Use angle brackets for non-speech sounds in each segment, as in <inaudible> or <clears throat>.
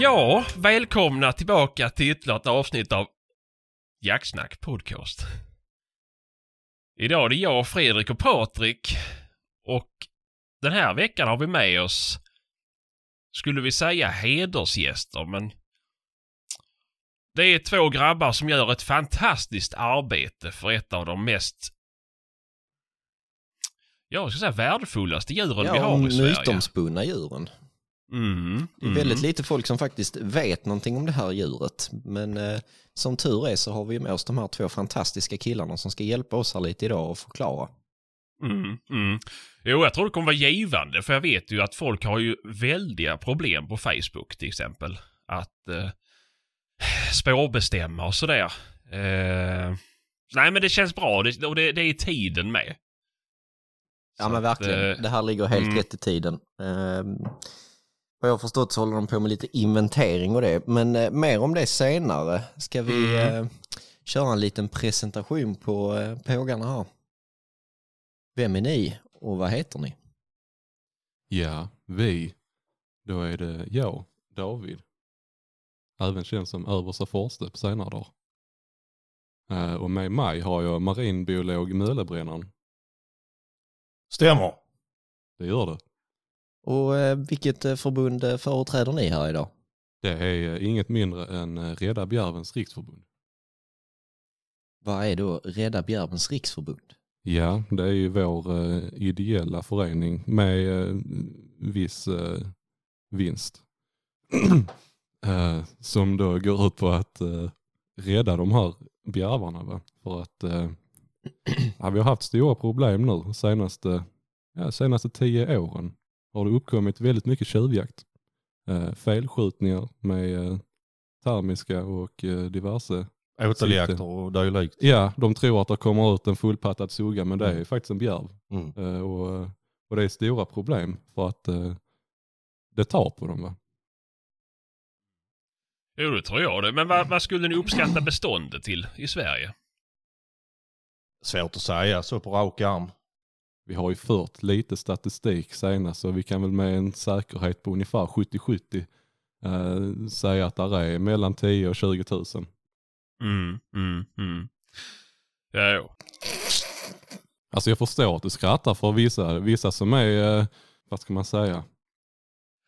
Ja, välkomna tillbaka till ytterligare ett avsnitt av Jacksnack Podcast. Idag är det jag, Fredrik och Patrik. Och den här veckan har vi med oss, skulle vi säga hedersgäster, men det är två grabbar som gör ett fantastiskt arbete för ett av de mest, ja, jag ska säga värdefullaste djuren vi Ja, har i Sverige. mytomspunna djuren. Mm, Det är mm. väldigt lite folk som faktiskt vet någonting om det här djuret. Men eh, som tur är så har vi med oss de här två fantastiska killarna som ska hjälpa oss här lite idag och förklara. Mm, mm. Jo, jag tror det kommer vara givande, för jag vet ju att folk har ju väldiga problem på Facebook till exempel. Att eh, spårbestämma och sådär. Eh, nej, men det känns bra det, och det, det är i tiden med. Ja Så men att, verkligen, eh, det här ligger helt mm. rätt i tiden. Ehm, Vad jag har förstått så håller de på med lite inventering och det. Men eh, mer om det senare. Ska vi Mm. eh, köra en liten presentation på eh, pågarna här? Vem är ni och vad heter ni? Ja, vi. Då är det jag, David. Även känd som översta Forste på senare dagar. Eh, Och med mig har jag marinbiolog Mölebrännaren. Stämmer. Det gör det. Och eh, vilket eh, förbund eh, företräder ni här idag? Det är eh, inget mindre än eh, Rädda Bjärvens riksförbund. Vad är då Rädda Bjärvens riksförbund? Ja, det är ju vår eh, ideella förening med eh, viss eh, vinst. eh, som då går ut på att eh, rädda de här bjärvarna. Va? För att eh, <clears throat> ja, vi har haft stora problem nu senaste, ja, senaste tio åren. Har det uppkommit väldigt mycket tjuvjakt. Eh, felskjutningar med eh, termiska och eh, diverse Åteljakter och dylikt. Ja, de tror att det kommer ut en fullpattad sugga men det är ju faktiskt en bjärv. Mm. Eh, och, och det är stora problem för att eh, det tar på dem va? Jo, det tror jag det. Men vad, vad skulle ni uppskatta beståndet till i Sverige? Svårt att säga så på rak arm. Vi har ju fört lite statistik senast så vi kan väl med en säkerhet på ungefär 70-70 eh, säga att där är mellan 10 000 och 20 000. Mm, mm, mm. Ja, jo. Alltså jag förstår att du skrattar för vissa, vissa som är, eh, vad ska man säga?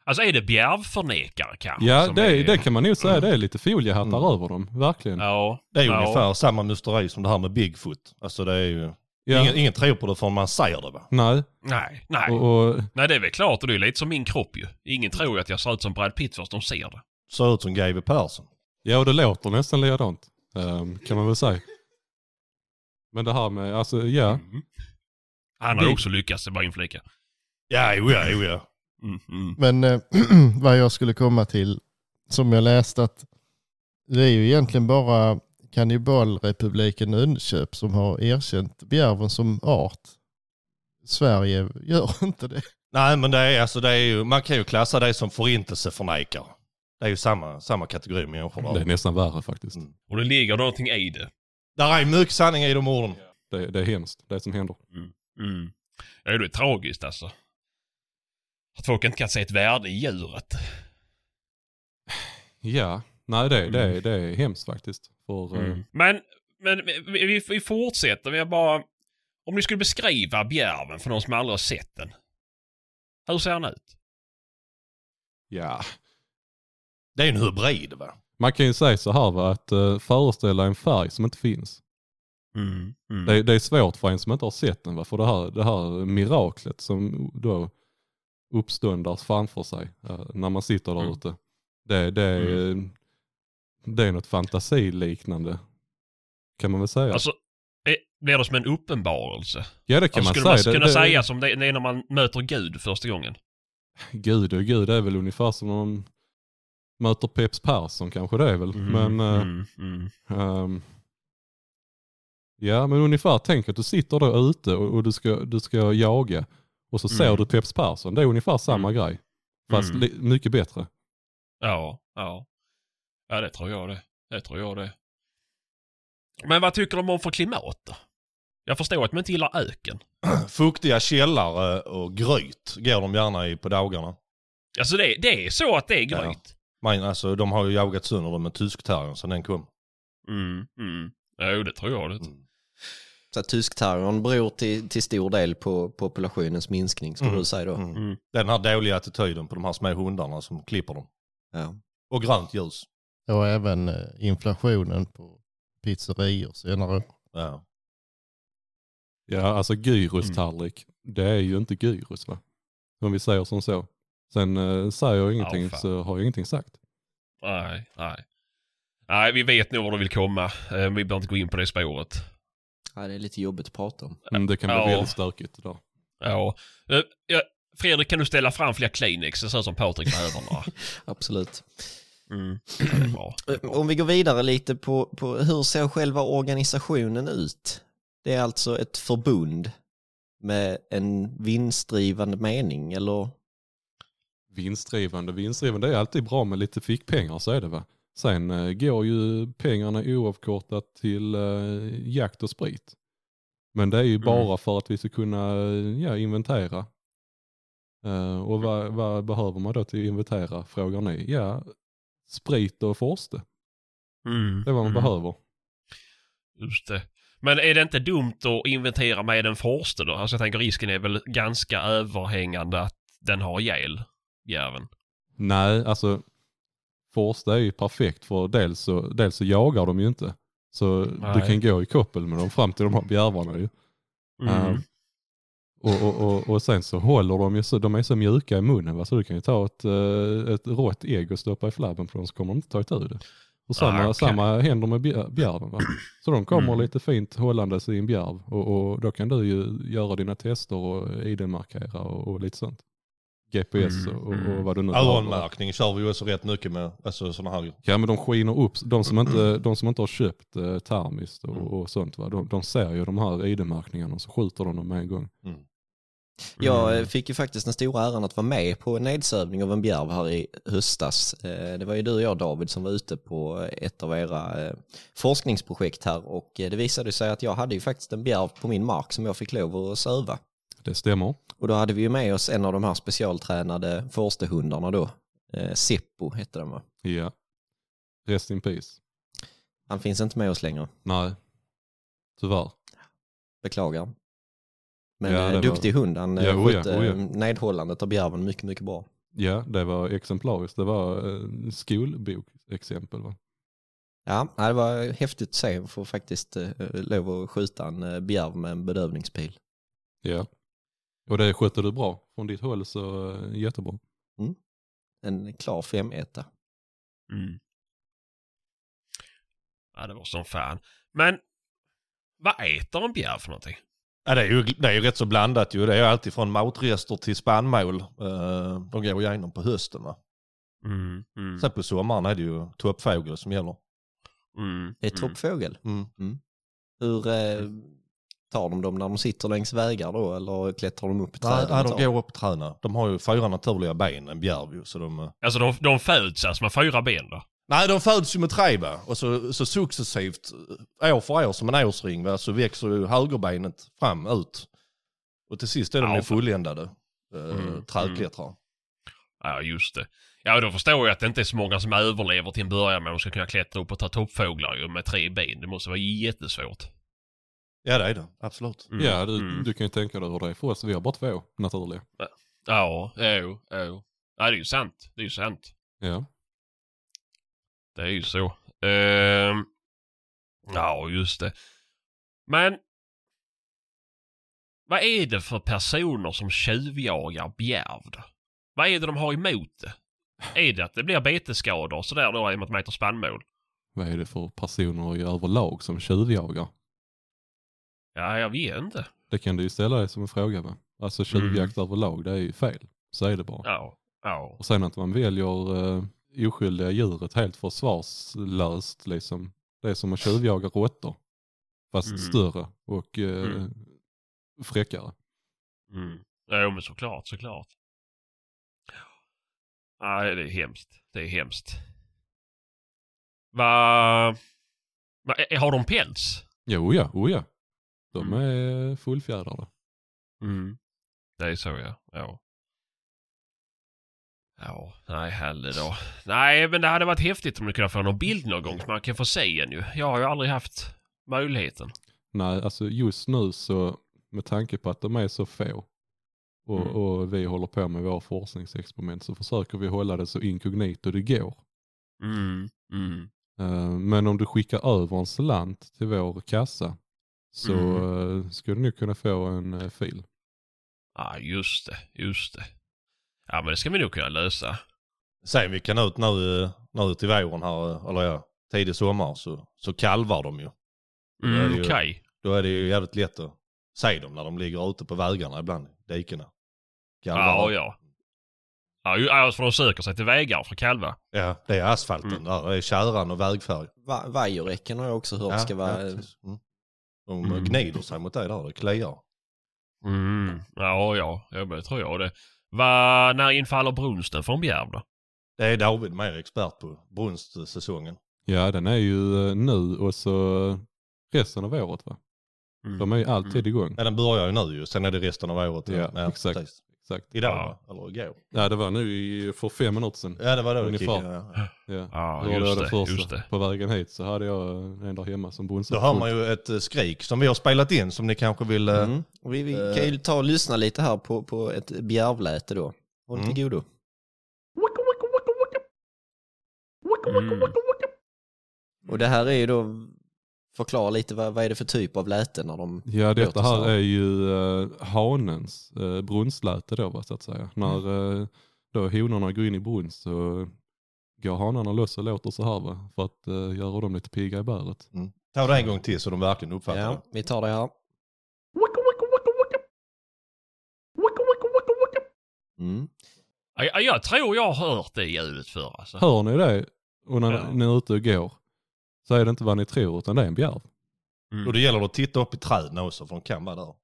Alltså är det bjärvförnekare kanske? Ja som det, är- det kan man ju säga, det är lite foliehattar Mm. över dem, verkligen. Ja. Det är ju ja. ungefär samma mysteri som det här med Bigfoot. Alltså det är ju... Ja. Ingen, ingen tror på det förrän man säger det va? Nej, Nej, nej. och, och Nej, det är väl klart och det är lite som min kropp ju. Ingen tror ju att jag ser ut som Brad Pitt först de ser det. Ser ut som GW Persson. Ja, och det låter nästan likadant. ehm, kan man väl säga. Men det här med, alltså ja. Mm. Han har ju Det- också lyckats, det var en flika. Ja, jo ja, jo ja. Mm, mm. Men eh, vad jag skulle komma till, som jag läste att det är ju egentligen bara kannibalrepubliken Önköp som har erkänt bjärven som art. Sverige gör <laughs> inte det. Nej men det är, alltså, det är ju, man kan ju klassa det som förintelseförnekare. Det är ju samma, samma kategori människor Det är där. nästan värre faktiskt. Mm. Och det ligger någonting i det. Där är mycket sanning i de orden. Det, det är hemskt, det som händer. Mm. Ja, det är tragiskt alltså. Att folk inte kan se ett värde i djuret. Ja, nej det, det, Mm. är- det är hemskt faktiskt. För, eh, Men, men vi, vi- vi fortsätter. Vi har bara... Om ni skulle beskriva bjärven för någon som aldrig har sett den. Hur ser han ut? ja. Det är ju en hybrid va? Man kan ju säga så här va, att eh, föreställa en färg som inte finns. Mm. Mm. Det, det är svårt för en som inte har sett den va, för det här, det här miraklet som då uppståndar framför sig eh, när man sitter där Mm. ute. Det, det, är, eh, det är något fantasiliknande kan man väl säga. Alltså, eh, blir det som en uppenbarelse? ja det kan alltså, skulle man man säga. Det- kunna det, säga som det, det är när man möter Gud första gången? Gud och gud det är väl ungefär som om man möter Peps Persson kanske det är väl. Men, eh, mm, mm. Ehm, ja, men ungefär tänk att du sitter då ute och, och du, ska, du ska jaga och så Mm. ser du Peps Persson. Det är ungefär samma grej. Fast Mm. li- mycket bättre. Ja, ja. Ja, det tror jag det. Det tror jag det. Men vad tycker de om för klimat då? Jag förstår att man inte gillar öken. Fuktiga eh, källare och gryt går de gärna i på dagarna. Alltså det, det är så att det är gryt. Men alltså de har ju jagat sönder dem med tyskterriern sedan den kom. Mm, mm. Jo, det tror jag det. Mm. Så att tyskterrorn beror till, till stor del på populationens minskning, skulle Mm. du säga då? Mm. Mm. Den här dåliga attityden på de här små hundarna som klipper dem. Ja. Och grönt ljus. Och även eh, inflationen på pizzerior senare. år. Ja. Ja, alltså Mm. gyrostallrik, det är ju inte gyros va? Om vi säger som så. Sen eh, säger jag ingenting fan. så har jag ingenting sagt. Nej, nej. Nej, vi vet nog var du vill komma. Eh, Vi behöver inte gå in på det spåret. ja, det är lite jobbigt att prata om. Mm, det kan bli Ja. väldigt stökigt idag. Ja. Eh, ja. Fredrik, kan du ställa fram fler Kleenex? så som Patrik behöver några. Absolut. Eh, Mm. Ja, det är bra. Det är bra. Om vi går vidare lite på, på hur ser själva organisationen ut? Det är alltså ett förbund med en vinstdrivande mening, eller? Vinstdrivande, vinstdrivande, det är alltid bra med lite fickpengar så är det va? Sen eh, går ju pengarna oavkortat till eh, jakt och sprit. Men det är ju Mm. bara för att vi ska kunna eh, ja, inventera. Eh, och vad, vad behöver man då till att inventera frågar ni? Ja, sprit och forste, Mm. det är vad man Mm. behöver. Just det. Men är det inte dumt att inventera med en forste då? Alltså jag tänker risken är väl ganska överhängande att den har ihjäl järven. Nej, alltså Forsta är ju perfekt för dels så, dels så jagar de ju inte. Så du Nej. kan gå i koppel med dem fram till de här bjärvarna ju. Mm. Ehm, och, och, och, och sen så håller de ju så, de är så mjuka i munnen va? så du kan ju ta ett, eh, ett rått ägg och stoppa i flabben på dem så kommer de inte ta itu det. Och samma, Ah, okej. samma händer med bjär- bjärven. Va? Så de kommer Mm. lite fint hållandes i en bjärv och, och då kan du ju göra dina tester och id-markera och, och lite sånt. GPS Mm, och, mm. och vad du nu behöver, va? Öronmärkning kör vi ju också rätt mycket med. Alltså sådana här. Ja men de skiner upp, de som inte, de som inte har köpt eh, termiskt Mm. och, och sånt va, de, de ser ju de här ID-märkningarna och så skjuter de dem med en gång. Jag Mm. eh, fick ju faktiskt den stora äran att vara med på en nedsövning av en bjärv här i höstas. Eh, Det var ju du och jag David som var ute på ett av era eh, forskningsprojekt här och eh, det visade sig att jag hade ju faktiskt en bjärv på min mark som jag fick lov att söva. Det stämmer. Och då hade vi ju med oss en av de här specialtränade forstehundarna då. Eh, Seppo hette den va? Ja. Rest in peace. Han finns inte med oss längre, Nej. Tyvärr. beklagar. Men Ja, eh, det var- duktig hund, han eh, Ja, oja, skötte oja. eh, nedhållandet av bjärven mycket, mycket bra. Ja, det var exemplariskt. Det var eh, skolbokexempel va? Ja, nej, det var häftigt att se. Jag får faktiskt eh, lov att skjuta en eh, bjärv med en bedövningspil. Ja. Och det skötte du bra från ditt håll så eh, jättebra. En klar 5-1. Mm. Ja, det var som fan. Men vad äter en bjärv för någonting? Ja, det, är ju, det är ju rätt så blandat ju. Det är ju alltid från mautrester till spannmål. Eh, De går igenom på hösten va. Mm, mm, Sen på sommaren är det ju toppfågel som gäller. mm, Det är mm. toppfågel. Mm. Hur eh, tar de dem när de sitter längs vägar då? Eller klättrar de upp i träden? Nej, och nej, tar- de går upp och tränar. De har ju fyra naturliga ben, en bjärv ju. Så de, eh, Alltså de, de föds alltså med fyra ben då? nej, de föds ju med tre va. Och så, så successivt, eh, år för år, som en årsring va, så växer ju högerbenet fram, ut. Och till sist är de Ja, ju för- fulländade eh, Mm, trädklättrare. Ja, just det. Ja, då förstår jag att det inte är så många som överlever till en början med att de ska kunna klättra upp och ta toppfåglar ju med tre ben. Det måste vara jättesvårt. Ja det är det, absolut. Mm, Ja, du, mm. du kan ju tänka dig hur det är för oss. Vi har bara två naturliga. Ja, jo, jo. Ja, det är ju sant. Det är ju sant. Ja. Det är ju så. Ehm, ja, just det. Men... Vad är det för personer som tjuvjagar bjärv då? Vad är det de har emot det? Är det att det blir betesskador och sådär då i och med att man äter spannmål? Vad är det för personer i överlag som tjuvjagar? Ja, jag vet inte. Det kan du ju ställa dig som en fråga va? Alltså tjuvjakt Mm. överlag, det är ju fel. Så är det bara. Ja, ja. Och sen att man väljer eh, oskyldiga djuret helt försvarslöst liksom. Det är som att tjuvjaga råttor. Fast Mm. större och eh, Mm. fräckare. Mm. Jo, men såklart, såklart. Nej, det är hemskt. Det är hemskt. Vad... Va, ä- har de päls? Jo ja, oh ja. De Mm. är fullfjädrade. Mm. Det är så, ja. ja. Ja, nej heller då. Nej, men det hade varit häftigt om du kunde få någon bild någon gång så man kan få se en ju. Jag har ju aldrig haft möjligheten. Nej, alltså just nu så med tanke på att de är så få och, Mm. och vi håller på med våra forskningsexperiment så försöker vi hålla det så inkognito det går. Mm, mm. Eh, Men om du skickar över en slant till vår kassa så Mm. eh, skulle du nog kunna få en eh, fil. Ja, just det, just det. Ja, men det ska vi nog kunna lösa. Sen vi kan ut nu, eh, nu till våren här, eh, eller ja, tidig sommar så, så kalvar de ju. är det Mm, ju. Okej. Då är det ju jävligt lätt att se dem när de ligger ute på vägarna ibland, i dikena. Ja, ja. Ja, ju- alltså för de söker sig till vägar för kalvar. Ja, det är asfalten Mm. där, det är tjäran och vägfärg. Va- Vajerräcken har jag också hört ska vara... precis. mm. De Mm. gnider sig mot dig där, det kliar. Mm. Ja, ja, jag men, tror jag det. Va, när infaller brunsten från Bjärv då? Det är David mer expert på, brunstsäsongen. Ja, den är ju eh, nu och så eh, resten av året va? Mm. De är ju alltid igång. Ja, den börjar ju nu ju, sen är det resten av året. Ja, exakt. precis. Exakt. Idag, Ja. eller igår. Ja, det var nu i- för fem minuter sedan. Ja, det var då det Ungefär. kickade, ja. ja. Ja. Ja, Då var just det det, första. just det. På vägen hit så hade jag eh, en där hemma som bonsa. Då hör man ju ett eh, skrik som vi har spelat in som ni kanske vill... eh, Mm. Och Vi, vi kan ju ta och lyssna lite här på, på ett bjärvläte då. Håll Mm. till godo. Mm. Och det här är ju då, förklara lite vad, vad är det för typ av läte när de... Ja, detta Låter så här här. är ju eh, hanens eh, brunstläte då, va, så att säga. Mm. När eh, då honorna går in i brunst så går hanarna loss och låter så här va, för att eh, göra dem lite pigga i bäret. Ta det en gång till så de verkligen uppfattar Ja, det. vi tar det här. Mm. Ja, ja, jag tror jag har hört det ljudet förr alltså. Hör ni det? Och när Ja. ni är ute och går så är det inte vad ni tror utan det är en bjärv. Mm. Och det gäller att titta upp i träden också för de kan vara där.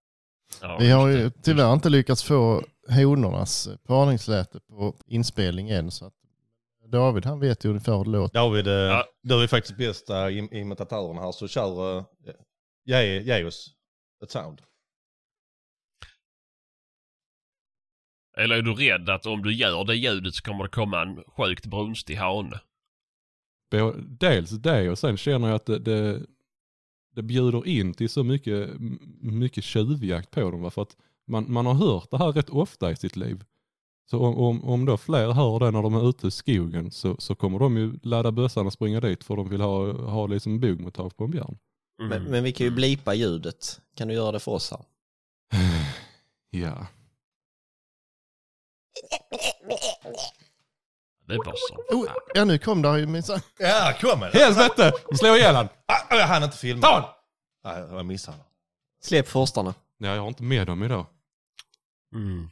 Ja, Vi har just ju det. tyvärr inte lyckats få honornas parningsläte på inspelning än. Så att David han vet ju ungefär hur det låter. David, eh, Ja. du är faktiskt bästa im- imitatören här så kör... eh, Ge, ge oss ett sound. Eller är du rädd att om du gör det ljudet så kommer det komma en sjukt brunstig hane? Bå- Dels det och sen känner jag att det, det, det bjuder in till så mycket, m- mycket tjuvjakt på dem. Va? För att man, man har hört det här rätt ofta i sitt liv. Så om, om, om då fler hör det när de är ute i skogen så, så kommer de ju ladda bössan och springa dit för de vill ha, ha liksom bogmottag på en björn. Mm. Men, men vi kan ju blipa ljudet. Kan du göra det för oss här? Ja. Det var så. Oh, ja, nu kom där ju minsann. Ja, kom med det. Helvete! Slå ihjäl han! Ah, jag hann inte filma. Ta Nej, jag missade. Släpp forstarna. Nej, jag har inte med dem idag. Mm.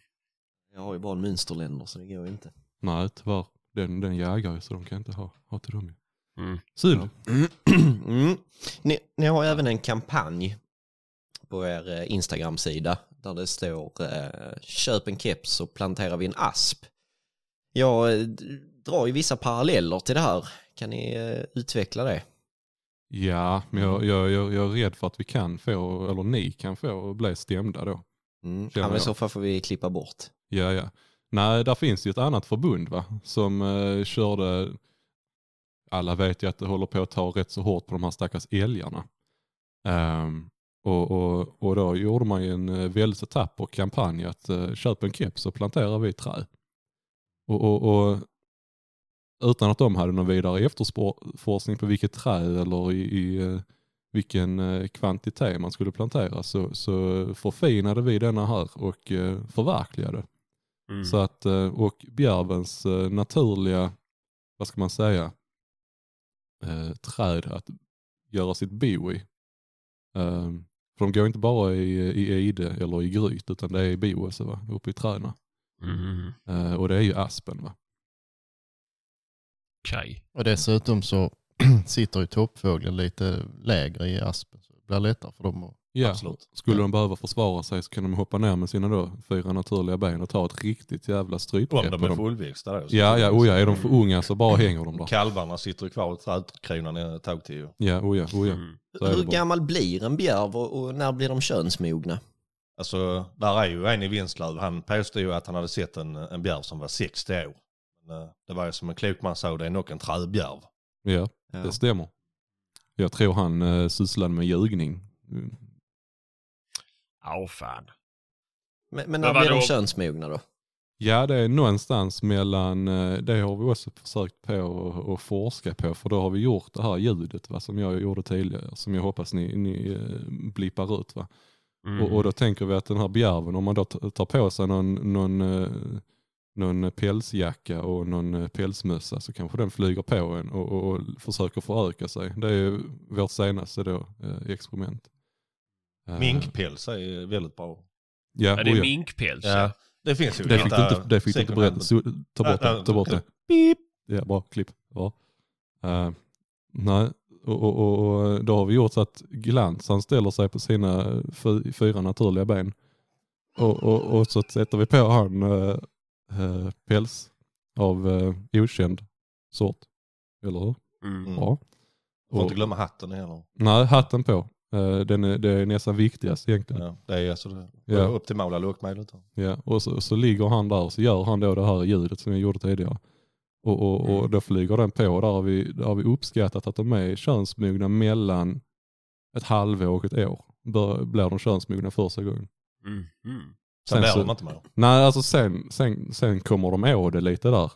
Jag har ju bara en mönsterländer så det går ju inte. <clears throat> Nej, tyvärr. Den, den jagar ju så de kan inte ha, ha till dem. ju. Mm. Synd. Mm. Ni, ni har även en kampanj på er eh, Instagram-sida där det står eh, köp en keps så planterar vi en asp. Jag eh, d- drar ju vissa paralleller till det här. Kan ni eh, utveckla det? Ja, men jag, jag, jag, jag är rädd för att vi kan få, eller ni kan få, bli stämda då. Mm. Känner Ja, men jag. i så fall får vi klippa bort. Ja, ja. Nej, där finns ju ett annat förbund va, som eh, körde, alla vet ju att det håller på att ta rätt så hårt på de här stackars älgarna. Ehm, och, och, och då gjorde man ju en eh, väldigt så tapper kampanj att eh, köp en keps så planterar vi trä. Och, och, och utan att de hade någon vidare efterforskning på vilket trä eller i, i eh, vilken eh, kvantitet man skulle plantera så, så förfinade vi denna här och eh, förverkligade. Mm. Så att, eh, och bjärvens eh, naturliga, vad ska man säga, eh, träd att göra sitt bo i. Eh, för de går inte bara i, i ide eller i gryt utan det är i bo också, va? uppe i träden. Mm. Eh, och det är ju aspen. Va? Okej. Och dessutom så <clears throat> sitter ju toppfågeln lite lägre i aspen. Så det blir lättare för dem att... Ja, Absolut. Skulle de behöva försvara sig så kan de hoppa ner med sina då fyra naturliga ben och ta ett riktigt jävla Om strypgrepp de på är dem. fullväxta då. så- Ja, ja, oja, är de för unga så bara hänger de där. Kalvarna sitter ju kvar i trädkronan ett tag till ju. Ja, oja, oja. Mm. Så är det Hur bara. gammal blir en bjärv och, och när blir de könsmogna? Alltså, där är ju en i Vinslöv, han påstod ju att han hade sett en, en björn som var 60 år. Men, eh, det var ju som en klok man sa, det är nog en träbjärv. Ja, Ja. det stämmer. Jag tror han uh, sysslade med ljugning. Mm. Åh fan. Men, Men men när blir de vadå? könsmogna då? Ja, det är någonstans mellan, eh, det har vi också försökt på att- att forska på, för då har vi gjort det här ljudet va, som jag gjorde tidigare, som jag hoppas ni, ni eh, blippar ut. Va? Mm. Och, och då tänker vi att den här bjärven, om man då t- tar på sig någon, någon, eh, någon pälsjacka och någon eh, pälsmössa så kanske den flyger på en och, och, och försöker föröka sig. Det är ju vårt senaste då, eh, experiment. Eh, Minkpäls är ju väldigt bra. Ja, ja, och det är ja. minkpäls. Ja, det finns ju. Det fick du inte, det fick du inte berätta. Så, ta bort Nej, det. nej, Ta bort det. Beep. Ja, bra. Klipp. Bra. Eh, nej, och, och, och, och då har vi gjort så att glansen ställer sig på sina fy, fyra naturliga ben. Och, och, och så sätter vi på han eh, eh, päls av eh, okänd sort. Eller hur? Mm. Ja. Får Och, inte glömma hatten heller. nej, hatten på. Eh, den är, det är nästan viktigast egentligen. Ja, det är alltså det. Ja. upp till Maula lockmejlet. då. Ja, och så, så ligger han där och så gör han då det här ljudet som jag gjorde tidigare. Och, och, och då flyger den på och där har, vi, där har vi uppskattat att de är könsmogna mellan ett halvår och ett år. Bör, blir de könsmogna första gången. Mm. Mm. Sen Sen blir så- de inte mer. Nej, alltså sen, sen, sen kommer de å det lite där.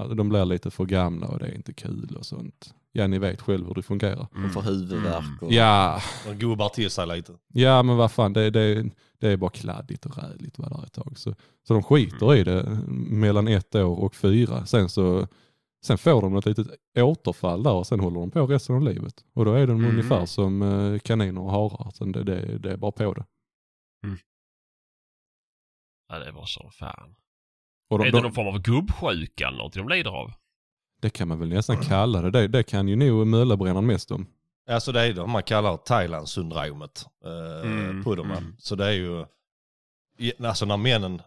Alltså, De blir lite för gamla och det är inte kul och sånt. Ja, ni vet själv hur det fungerar. Mm. De får huvudvärk och... Mm. Ja, De gubbar till sig lite. Ja men vad fan, det, det, det är bara kladdigt och räligt vad där ett tag. Så, så de skiter Mm. i det mellan ett år och fyra. Sen, så, sen får de ett litet återfall där och sen håller de på resten av livet. Och då är de Mm. ungefär som eh, kaniner och harar. Sen det, det, det är bara på det. Ja, det var så fan. Och är de, det de, någon form av gubbsjuka eller något de lider av? det kan man väl nästan kalla det. Det, det kan ju nog möllebrännaren mest om. Alltså det är det man kallar Thailand-syndromet eh, Mm, på dem. va? mm. Så det är ju, i- alltså när männen,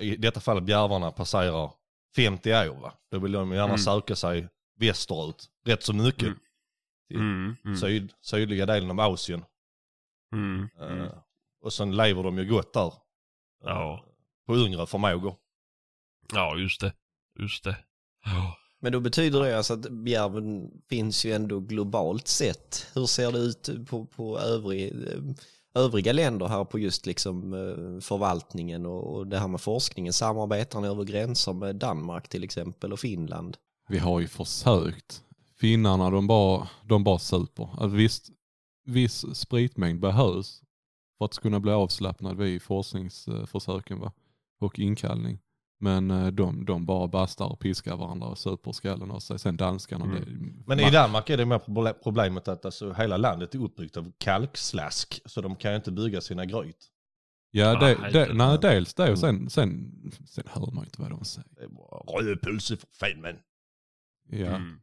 i detta fall bjärvarna, passerar 50 år, va? då vill de gärna Mm. söka sig västerut rätt så mycket. Mm. Mm. Mm. Syd, sydliga delen av Asien. Mm. Eh, Mm. Och sen lever de ju gott där. eh, Ja. På yngre förmågor. Ja, just det. Just det. Ja. Men då betyder det alltså att bjärven finns ju ändå globalt sett. Hur ser det ut på, på övrig, eh, övriga länder här på just liksom eh, förvaltningen och och det här med forskningen? Samarbetar ni över gränser med Danmark till exempel och Finland? Vi har ju försökt. Finnarna de bara, de bara super. Alltså visst, viss spritmängd behövs för att kunna bli avslappnad vid forskningsförsöken va? och inkallning. Men eh, de, de bara bastar och piskar varandra och super skallen av sig. Sen danskarna. Mm. det- Men ma- i Danmark är det mer proble- problemet att alltså, hela landet är uppbyggt av kalkslask. Så de kan ju inte bygga sina gryt. Ja, det, Ah, det, helvete. nej, dels det och sen, sen, sen hör man ju inte vad de säger. Det är bara rödpulse för fan men. Ja, Mm.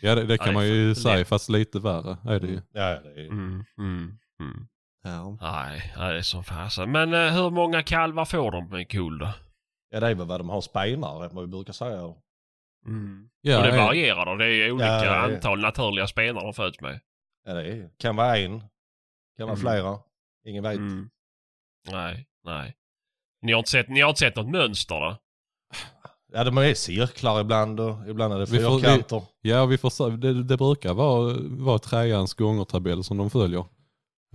ja det, det kan det är man ju fan säga lätt. fast lite värre är det ju. Ja, det är... Mm. Mm. Mm. Ja. Nej, nej, det är som fasen. Men eh, hur många kalvar får de med kul då? ja, det är väl vad de har spenar, vad vi brukar säga. Ja, och det ja. varierar då. Det är olika Ja, det är- antal naturliga spenar de föds med. Ja, det är. kan vara en, kan vara Mm. flera. Ingen vet. Mm. Nej, nej. Ni har, inte sett, ni har inte sett något mönster då? Ja, de är cirklar ibland och ibland är det Vi får- vi- fyrkanter. Ja, vi försöker, det, det brukar vara, vara träans gångertabell som de följer.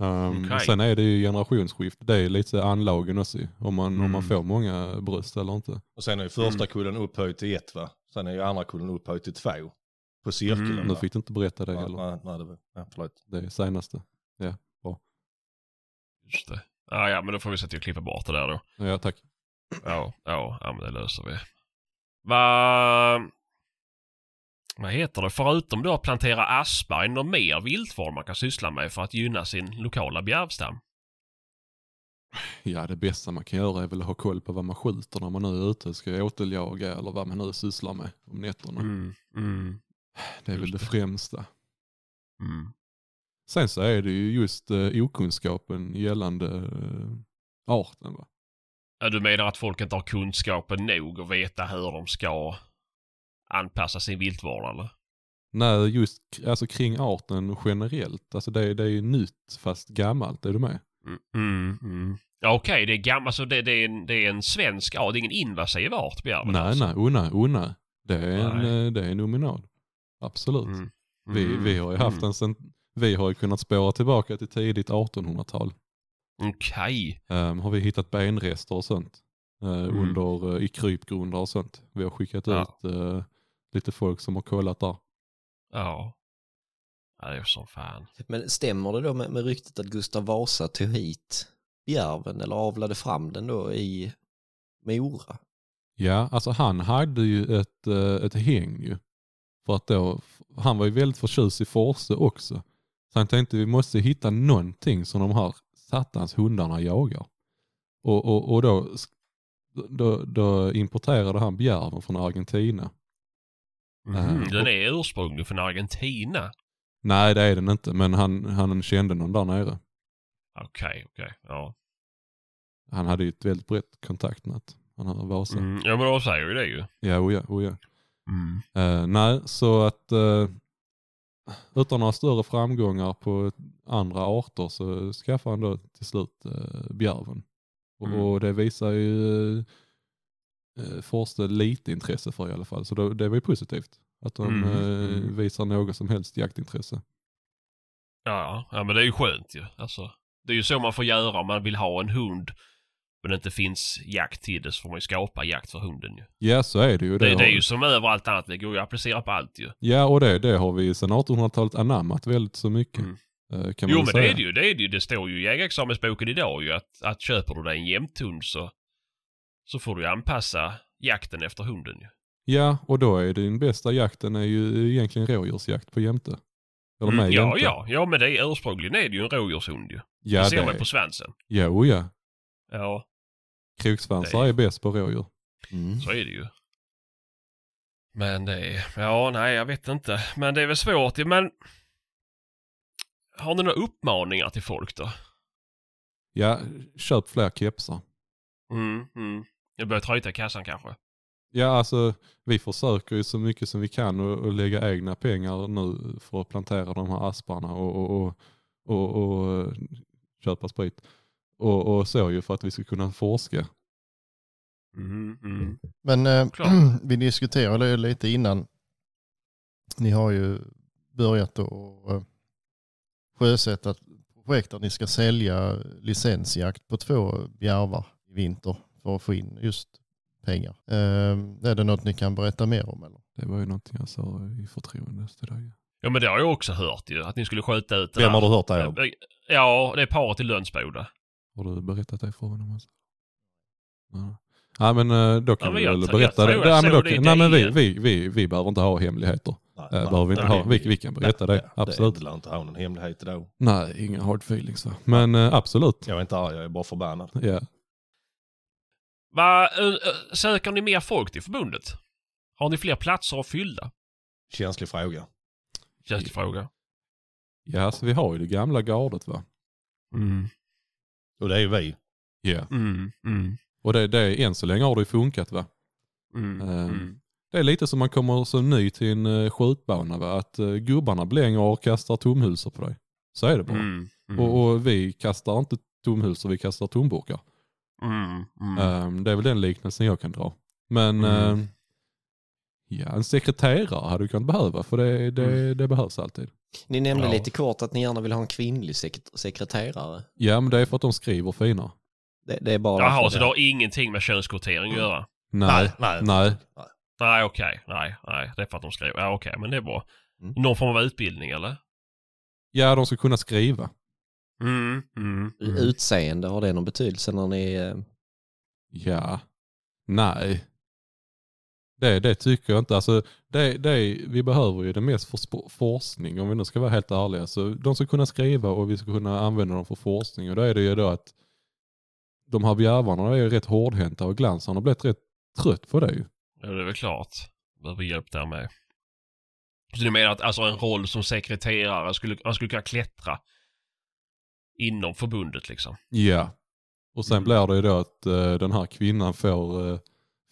Ehm, Okej. Sen är det ju generationsskift. Det är lite anlagen också ju, om man, om man Mm. får många bröst eller inte. Och sen är ju första Mm. kullen upphöjd till ett va. Sen är ju andra kullen upphöjd till två. På cirkeln. Mm. va? Nu fick du inte berätta det nej, heller. nej, nej, det var... Ja, förlåt. Det är senaste. Just det. Ja, ja, men då får vi se till att klippa bort det där då. Ja, tack. Ja, ja, ja men det löser vi. Vad... Vad heter det? Förutom då att plantera aspar, är det någon mer viltform man kan syssla med för att gynna sin lokala bjärvstam? Ja, det bästa man kan göra är väl att ha koll på vad man skjuter när man nu är ute. Ska jag återjaga eller vad man nu sysslar med om nätterna. mm, Det är väl just det det. främsta. mm. Sen så är det ju just eh, okunskapen gällande eh, arten. Va? Ja, du menar att folk inte har kunskapen nog att veta hur de ska anpassa sin viltvård eller? Nej, just k- alltså kring arten generellt. Alltså det, är- det är ju nytt fast gammalt, är du med? Mm, mm, mm. Ja, okej, det är gammalt. Alltså det, det, är en, det är en svensk art. Det är ingen invasiv art, Bjärven. Nej, alltså. nej, oh, nej, oh, nej. Det är en, eh, det är en nominal. Absolut. Mm. Vi, Mm. vi har ju haft Mm. en sen, vi har ju kunnat spåra tillbaka till tidigt 1800-tal. Okej. Ehm, har vi hittat benrester och sånt. eh, under, eh, I krypgrunder och sånt. Vi har skickat Mm. Ja. ut eh, lite folk som har kollat där. Ja. Ja, det är som fan. Men stämmer det då med, med ryktet att Gustav Vasa tog hit järven eller avlade fram den då i Mora? Ja, alltså han hade ju ett, eh, ett häng ju. För att då, han var ju väldigt förtjust i Forse också. Så han tänkte vi måste hitta någonting som de här satans hundarna jagar. Och, och, och då, sk- då, då importerade han bjärven från Argentina. Mhm, Eh, Den och- är ursprungligen från Argentina. Nej det är den inte, men han, han kände någon där nere. Okej, okej. Ja. Han hade ju ett väldigt brett kontaktnät. Han har Vasa. Mm. Ja, men de säger ju det ju. Ja, oja, oja. Eh, nej, så att eh, utan några större framgångar på andra arter så skaffar han då till slut eh, bjärven. Och, Mm. och det visar ju eh, Forste lite intresse för i alla fall. Så det, det var ju positivt att de Mm, eh, mm. visar något som helst jaktintresse. Ja, ja, men det är ju skönt ju. Alltså, det är ju så man får göra om man vill ha en hund men det inte finns jakt till det så får man ju skapa jakt för hunden ju. Ja, så är det ju. Det, har- det är ju som överallt annat, det går ju att applicera på allt ju. Ja, och det, det har vi sedan 1800-talet anammat väldigt så mycket. Mm. eh, Kan Jo man men säga. det är det ju, det är det ju. Det står ju i jägarexamensboken idag ju att, att köper du dig en jämthund så, så får du ju anpassa jakten efter hunden ju. Ja, och då är din bästa jakten är ju egentligen rådjursjakt på jämte. Eller med Mm, ja, jämte. ja, ja men det är ursprungligen är det ju en rådjurshund ju. Ja, det det ser man ju är. på svansen. Jo, ja. Ja, Kroksvansar Det är- är bäst på rådjur. Mm. så är det ju. Men det är, ja nej jag vet inte. Men det är väl svårt ju men har ni några uppmaningar till folk då? Ja, köp fler kepsar. Mm, mm. Jag börjar tröta i kassan kanske. Ja, alltså vi försöker ju så mycket som vi kan och, och lägga egna pengar nu för att plantera de här asparna och, och, och, och, och eh, köpa sprit. Och, och så ju för att vi ska kunna forska. Mm, mm. Men eh, Klart. <clears throat> vi diskuterade ju lite innan. Ni har ju börjat att eh, sjösätta ett projekt där ni ska sälja licensjakt på två bjärvar i vinter för att få in just pengar. Eh, är det något ni kan berätta mer om? Eller? Det var ju någonting jag sa i förtroende till dig. Ja men det har jag också hört ju, att ni skulle skjuta ut det Vem där. Eh, har du hört det om? Ja, det är paret i Lönsboda. Har du berättat det för honom? Alltså? Nej. Nej men eh, då kan Ja, men vi jag väl tror- jag berätta tror det. jag Nej, men, såg då, det i kan- nej, men vi, DN. vi, vi, vi behöver inte ha hemligheter. Nej, Eh, nej. behöver vi inte nej, ha. Vi, vi kan berätta det. Absolut. Det lär inte ha någon hemlighet idag. Nej, inga hard feelings va. Men eh, absolut. Jag är inte arg, jag är bara förbannad. Ja. Va, ö, ö, söker ni mer folk till förbundet? Har ni fler platser att fylla? Känslig fråga. Känns det fråga. ja, så vi har ju det gamla gardet va. Mm, Och det är ju vi. Ja. mm, mm, Och det, det, än så länge har det ju funkat va. mm, Ehm, mm. Det är lite som man kommer som ny till en eh, skjutbana va. Att eh, gubbarna blänger och kastar tomhylsor på dig. Så är det bara. Mm, mm, Och, och vi kastar inte tomhylsor, vi kastar tomburkar. mm, mm. Ehm, det är väl den liknelsen jag kan dra. Men Mm. ehm, ja, en sekreterare hade du kunnat behöva för det, det, Mm. det behövs alltid. Ni nämnde Ja. lite kort att ni gärna vill ha en kvinnlig sek- sekreterare. Ja men det är för att de skriver finare. Det, det är bara... Jaha, därför så det har ingenting med könskvotering att göra? Nej, nej. nej. Nej, okej. Nej, nej. Det är för att de skriver. Ja, okej, men det är bra. Mm. Någon form av utbildning, eller? Ja de ska kunna skriva. Mm, mm. Utseende, har det någon betydelse när ni... eh, Ja. Nej. Det, det tycker jag inte. Alltså, det, det, vi behöver ju det mest för sp- forskning om vi nu ska vara helt ärliga. Så de ska kunna skriva och vi ska kunna använda dem för forskning. Och då är det ju då att de här bjärvarna är ju rätt hårdhänta och Glans han har blivit rätt trött på det ju. Ja, det är väl klart. Behöver hjälp där med. Så du menar att alltså en roll som sekreterare, skulle, man skulle kunna klättra inom förbundet liksom? Ja. Och sen blir det ju då att eh, den här kvinnan får, eh,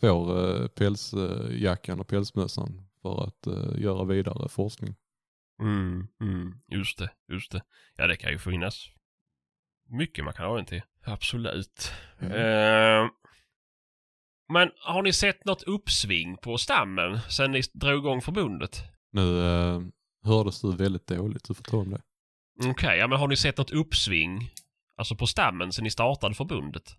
får eh, pälsjackan och pälsmössan för att eh, göra vidare forskning. Mm, mm. Just det, just det. Ja, det kan ju finnas mycket man kan ha den till. Absolut. Eh, men har ni sett något uppsving på stammen sen ni drog igång förbundet? Nu eh, hördes du väldigt dåligt, du får ta om det. Okej, ja, men har ni sett något uppsving? Alltså på stammen sen ni startade förbundet?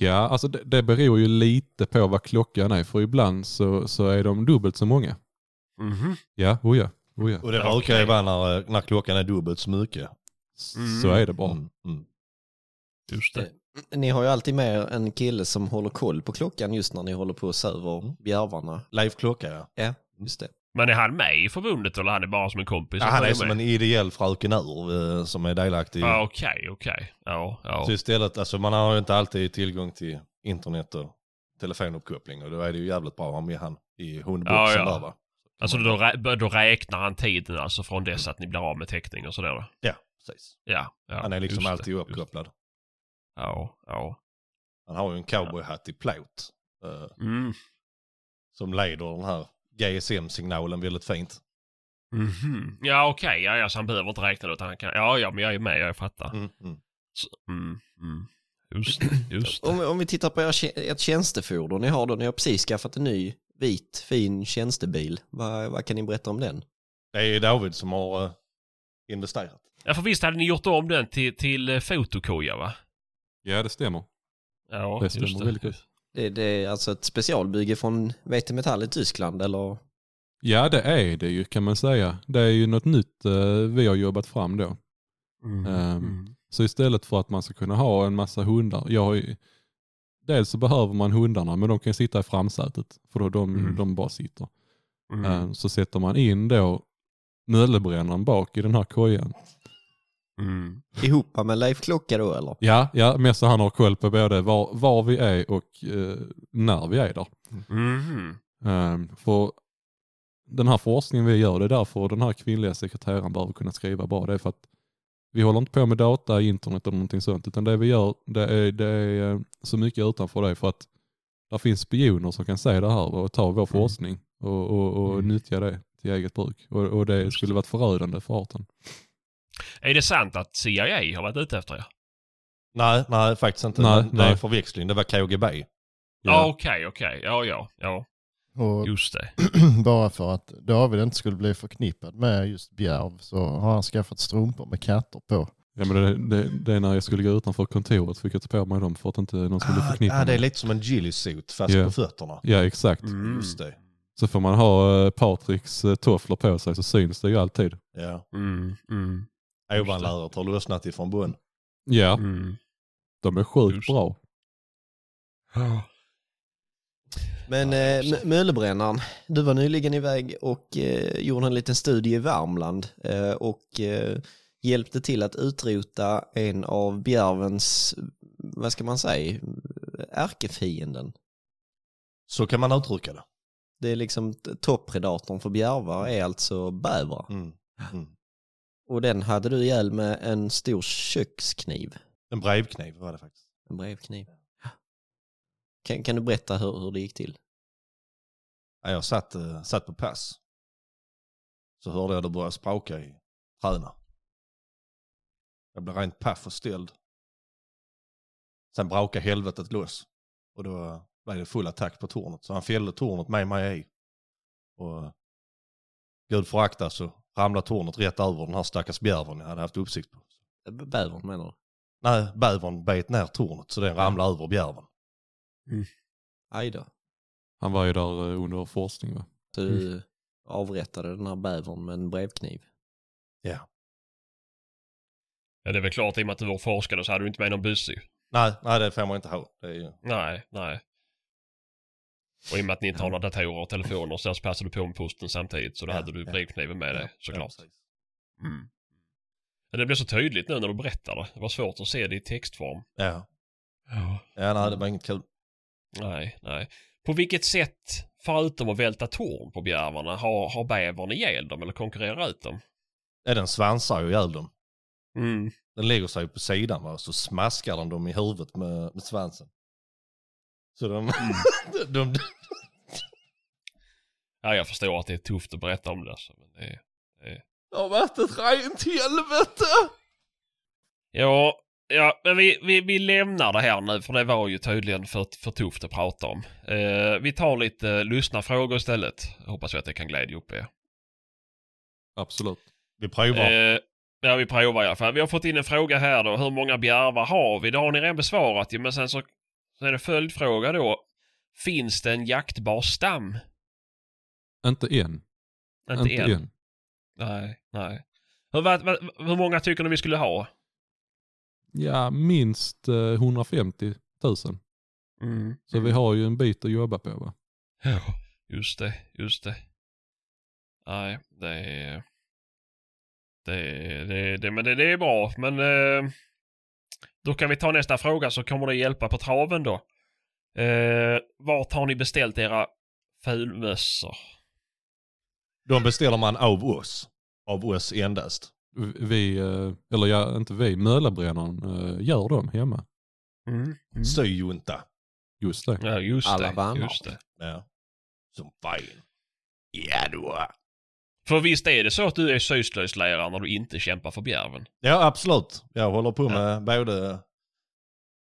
Ja, alltså det, det beror ju lite på vad klockan är, för ibland så, så är de dubbelt så många. Mhm. Ja, oh ja, oh ja. Och det Okej. brukar ju vara när, eh, när klockan är dubbelt så mycket. Mm. Så är det bara. Mm, mm. Just det. Ni har ju alltid med er en kille som håller koll på klockan just när ni håller på och Mm. söver bjärvarna. Live-klocka ja. Ja, just det. Men är han med i förbundet eller han är bara som en kompis? ja. Han är med? som en ideell frökenur eh, som är delaktig. Ja, okej, okej. Ja, ja. Så istället, alltså man har ju inte alltid tillgång till internet och telefonuppkoppling och då är det ju jävligt bra om vi är han i hundboxen Ja, ja. där va. Alltså då, rä- då räknar han tiden alltså från dess att ni blir av med täckning och sådär? Ja, precis. Ja. ja Han är liksom just det, alltid just det. uppkopplad. Ja, ja. Han har ju en cowboyhatt i plåt. eh, Mm. som leder den här GSM-signalen väldigt fint. Mhm. Ja, okej. Ja, ja, så han behöver inte räkna det utan han kan... Ja, ja, men jag är med. Jag fattar. Mm. Mm. Så, mm, mm. Just det, just det. Om, om vi tittar på er, tje- ert tjänstefordon ni har då, ni har precis skaffat en ny vit fin tjänstebil. Vad, vad kan ni berätta om den? Det är David som har eh, investerat. <clears throat> Ja, för visst hade ni gjort om den till, till eh, fotokoja, va? Ja, det stämmer. Ja, Det stämmer väldigt gott. Det, det är alltså ett specialbygge från VT Metall i Tyskland eller? Ja, det är det ju kan man säga. Det är ju något nytt eh, vi har jobbat fram då. Mm. Ehm, Mm. Så istället för att man ska kunna ha en massa hundar. Jag har ju, dels så behöver man hundarna men de kan sitta i framsätet för då de, Mm. de bara sitter. Mm. Ehm, Så sätter man in då nöllebrännaren bak i den här kojan. ehm. Mm. Ihop med Leif Klocka då eller? Ja, ja men så han har koll på både var, var vi är och eh, när vi är där. Mhm. Ehm, för den här forskningen vi gör, det är därför den här kvinnliga sekreteraren behöver kunna skriva bra. Det är för att vi håller inte på med data, internet eller någonting sånt, utan det vi gör, det är, det är eh, så mycket utanför det för att där finns spioner som kan se det här och ta vår forskning och, och, och Mm. nyttja det till eget bruk. Och, och det Just skulle det. varit förödande för arten. Är det sant att CIA har varit ute efter er? Nej, nej faktiskt inte. Nej, Men det är nej. en förväxling. Det var KGB. Ja, okej, okej. Ja, ja, ja. Och Just det. <clears throat> bara för att David inte skulle bli förknippad med just Bjärv så har han skaffat strumpor med katter på. Ja, men det, det, det är när jag skulle gå utanför kontoret fick jag ta på mig dem för att inte någon skulle förknippa ah, det är mig. lite som en gillisot fast Ja. på fötterna. Ja, exakt. Mm. Just det. Så får man ha eh, Patricks eh, tofflor på sig så syns det ju alltid. Ja. Mm, mm, Ovanläret har lossnat ifrån bön. Ja, mm. de är sjukt Just. bra. Men eh, M- Möllebrännaren, du var nyligen iväg och eh, gjorde en liten studie i Värmland eh, och eh, hjälpte till att utrota en av bjärvens, vad ska man säga, ärkefienden. Så kan man uttrycka det. Det är liksom t- toppredatorn för bjärvar är alltså bävrar. Mm. Och den hade du ihjäl med en stor kökskniv, En brevkniv var det faktiskt. en brevkniv. Kan, kan du berätta hur, hur det gick till? Ja, jag satt, eh, satt på pass. Så hörde jag det börja spraka i träna. Jag blev rent paff och ställd. Sen brakade helvetet loss. Och då var det full attack på tornet. Så han fällde tornet med mig i. Och eh, gud förakta så ramlade tornet rätt över den här stackars bjärven jag hade haft uppsikt på. B- Bävern menar du? Nej, bävern bet ner tornet så den ramlade över bjärven. Aj då. Han var ju där eh, under forskning va? Så du avrättade den här bävern med en brevkniv. Ja, det är väl klart i och med att du var forskare så hade du inte med någon buss ju. Nej, nej det får man inte ha. Det är ju... Nej, nej. Och i och med att ni inte har några datorer och telefoner så alltså passade du på med posten samtidigt så då Ja, hade du ja. brevkniven med dig såklart. Ja, precis. Mm. Men det blev så tydligt nu när du berättar det. Det var svårt att se det i textform. ja. ja, nej det var inget kul. Nej, nej. På vilket sätt, förutom att välta torn på bjärvarna, har, har bävern ihjäl dem eller konkurrerar ut dem? Ja, den svansar ju ihjäl dem. Mm. Den lägger sig på sidan va, och så smaskar den dem i huvudet med, med svansen. Så de, Mm. <laughs> de, de... Ja, jag förstår att det är tufft att berätta om det alltså. Men det är... Det har varit ett rent helvete! Ja, ja men vi, vi, vi lämnar det här nu för det var ju tydligen för, för tufft att prata om. Eh, vi tar lite eh, lyssnarfrågor istället. Hoppas vi att det kan glädja upp er. Absolut. Vi provar. Eh, ja, vi provar i alla fall. Vi har fått in en fråga här då. Hur många bjärvar har vi? Det har ni redan besvarat ju, men sen så, så är det följdfråga då. Finns det en jaktbar stam? Inte än. Inte, en. Nej, nej. Hur, vad, vad, hur många tycker ni vi skulle ha? Ja, minst eh, 150 000. Mm. Så vi har ju en bit att jobba på va? Ja, just det, just det. Nej, det är... Det, det, det, men det, det är bra, men... Eh, då kan vi ta nästa fråga så kommer det hjälpa på traven då. Eh, vart har ni beställt era fulmössor? De beställer man av oss. Av oss endast. Vi, eh, eller ja, inte vi, Mölabrännaren eh, gör dem hemma. Mm. Sy ju inte. Just det. Ja, just Alla det, vannar. just det. Ja. Som fan. Ja du. För visst är det så att du är syslöjdslärare när du inte kämpar för bjärven? Ja absolut. Jag håller på med både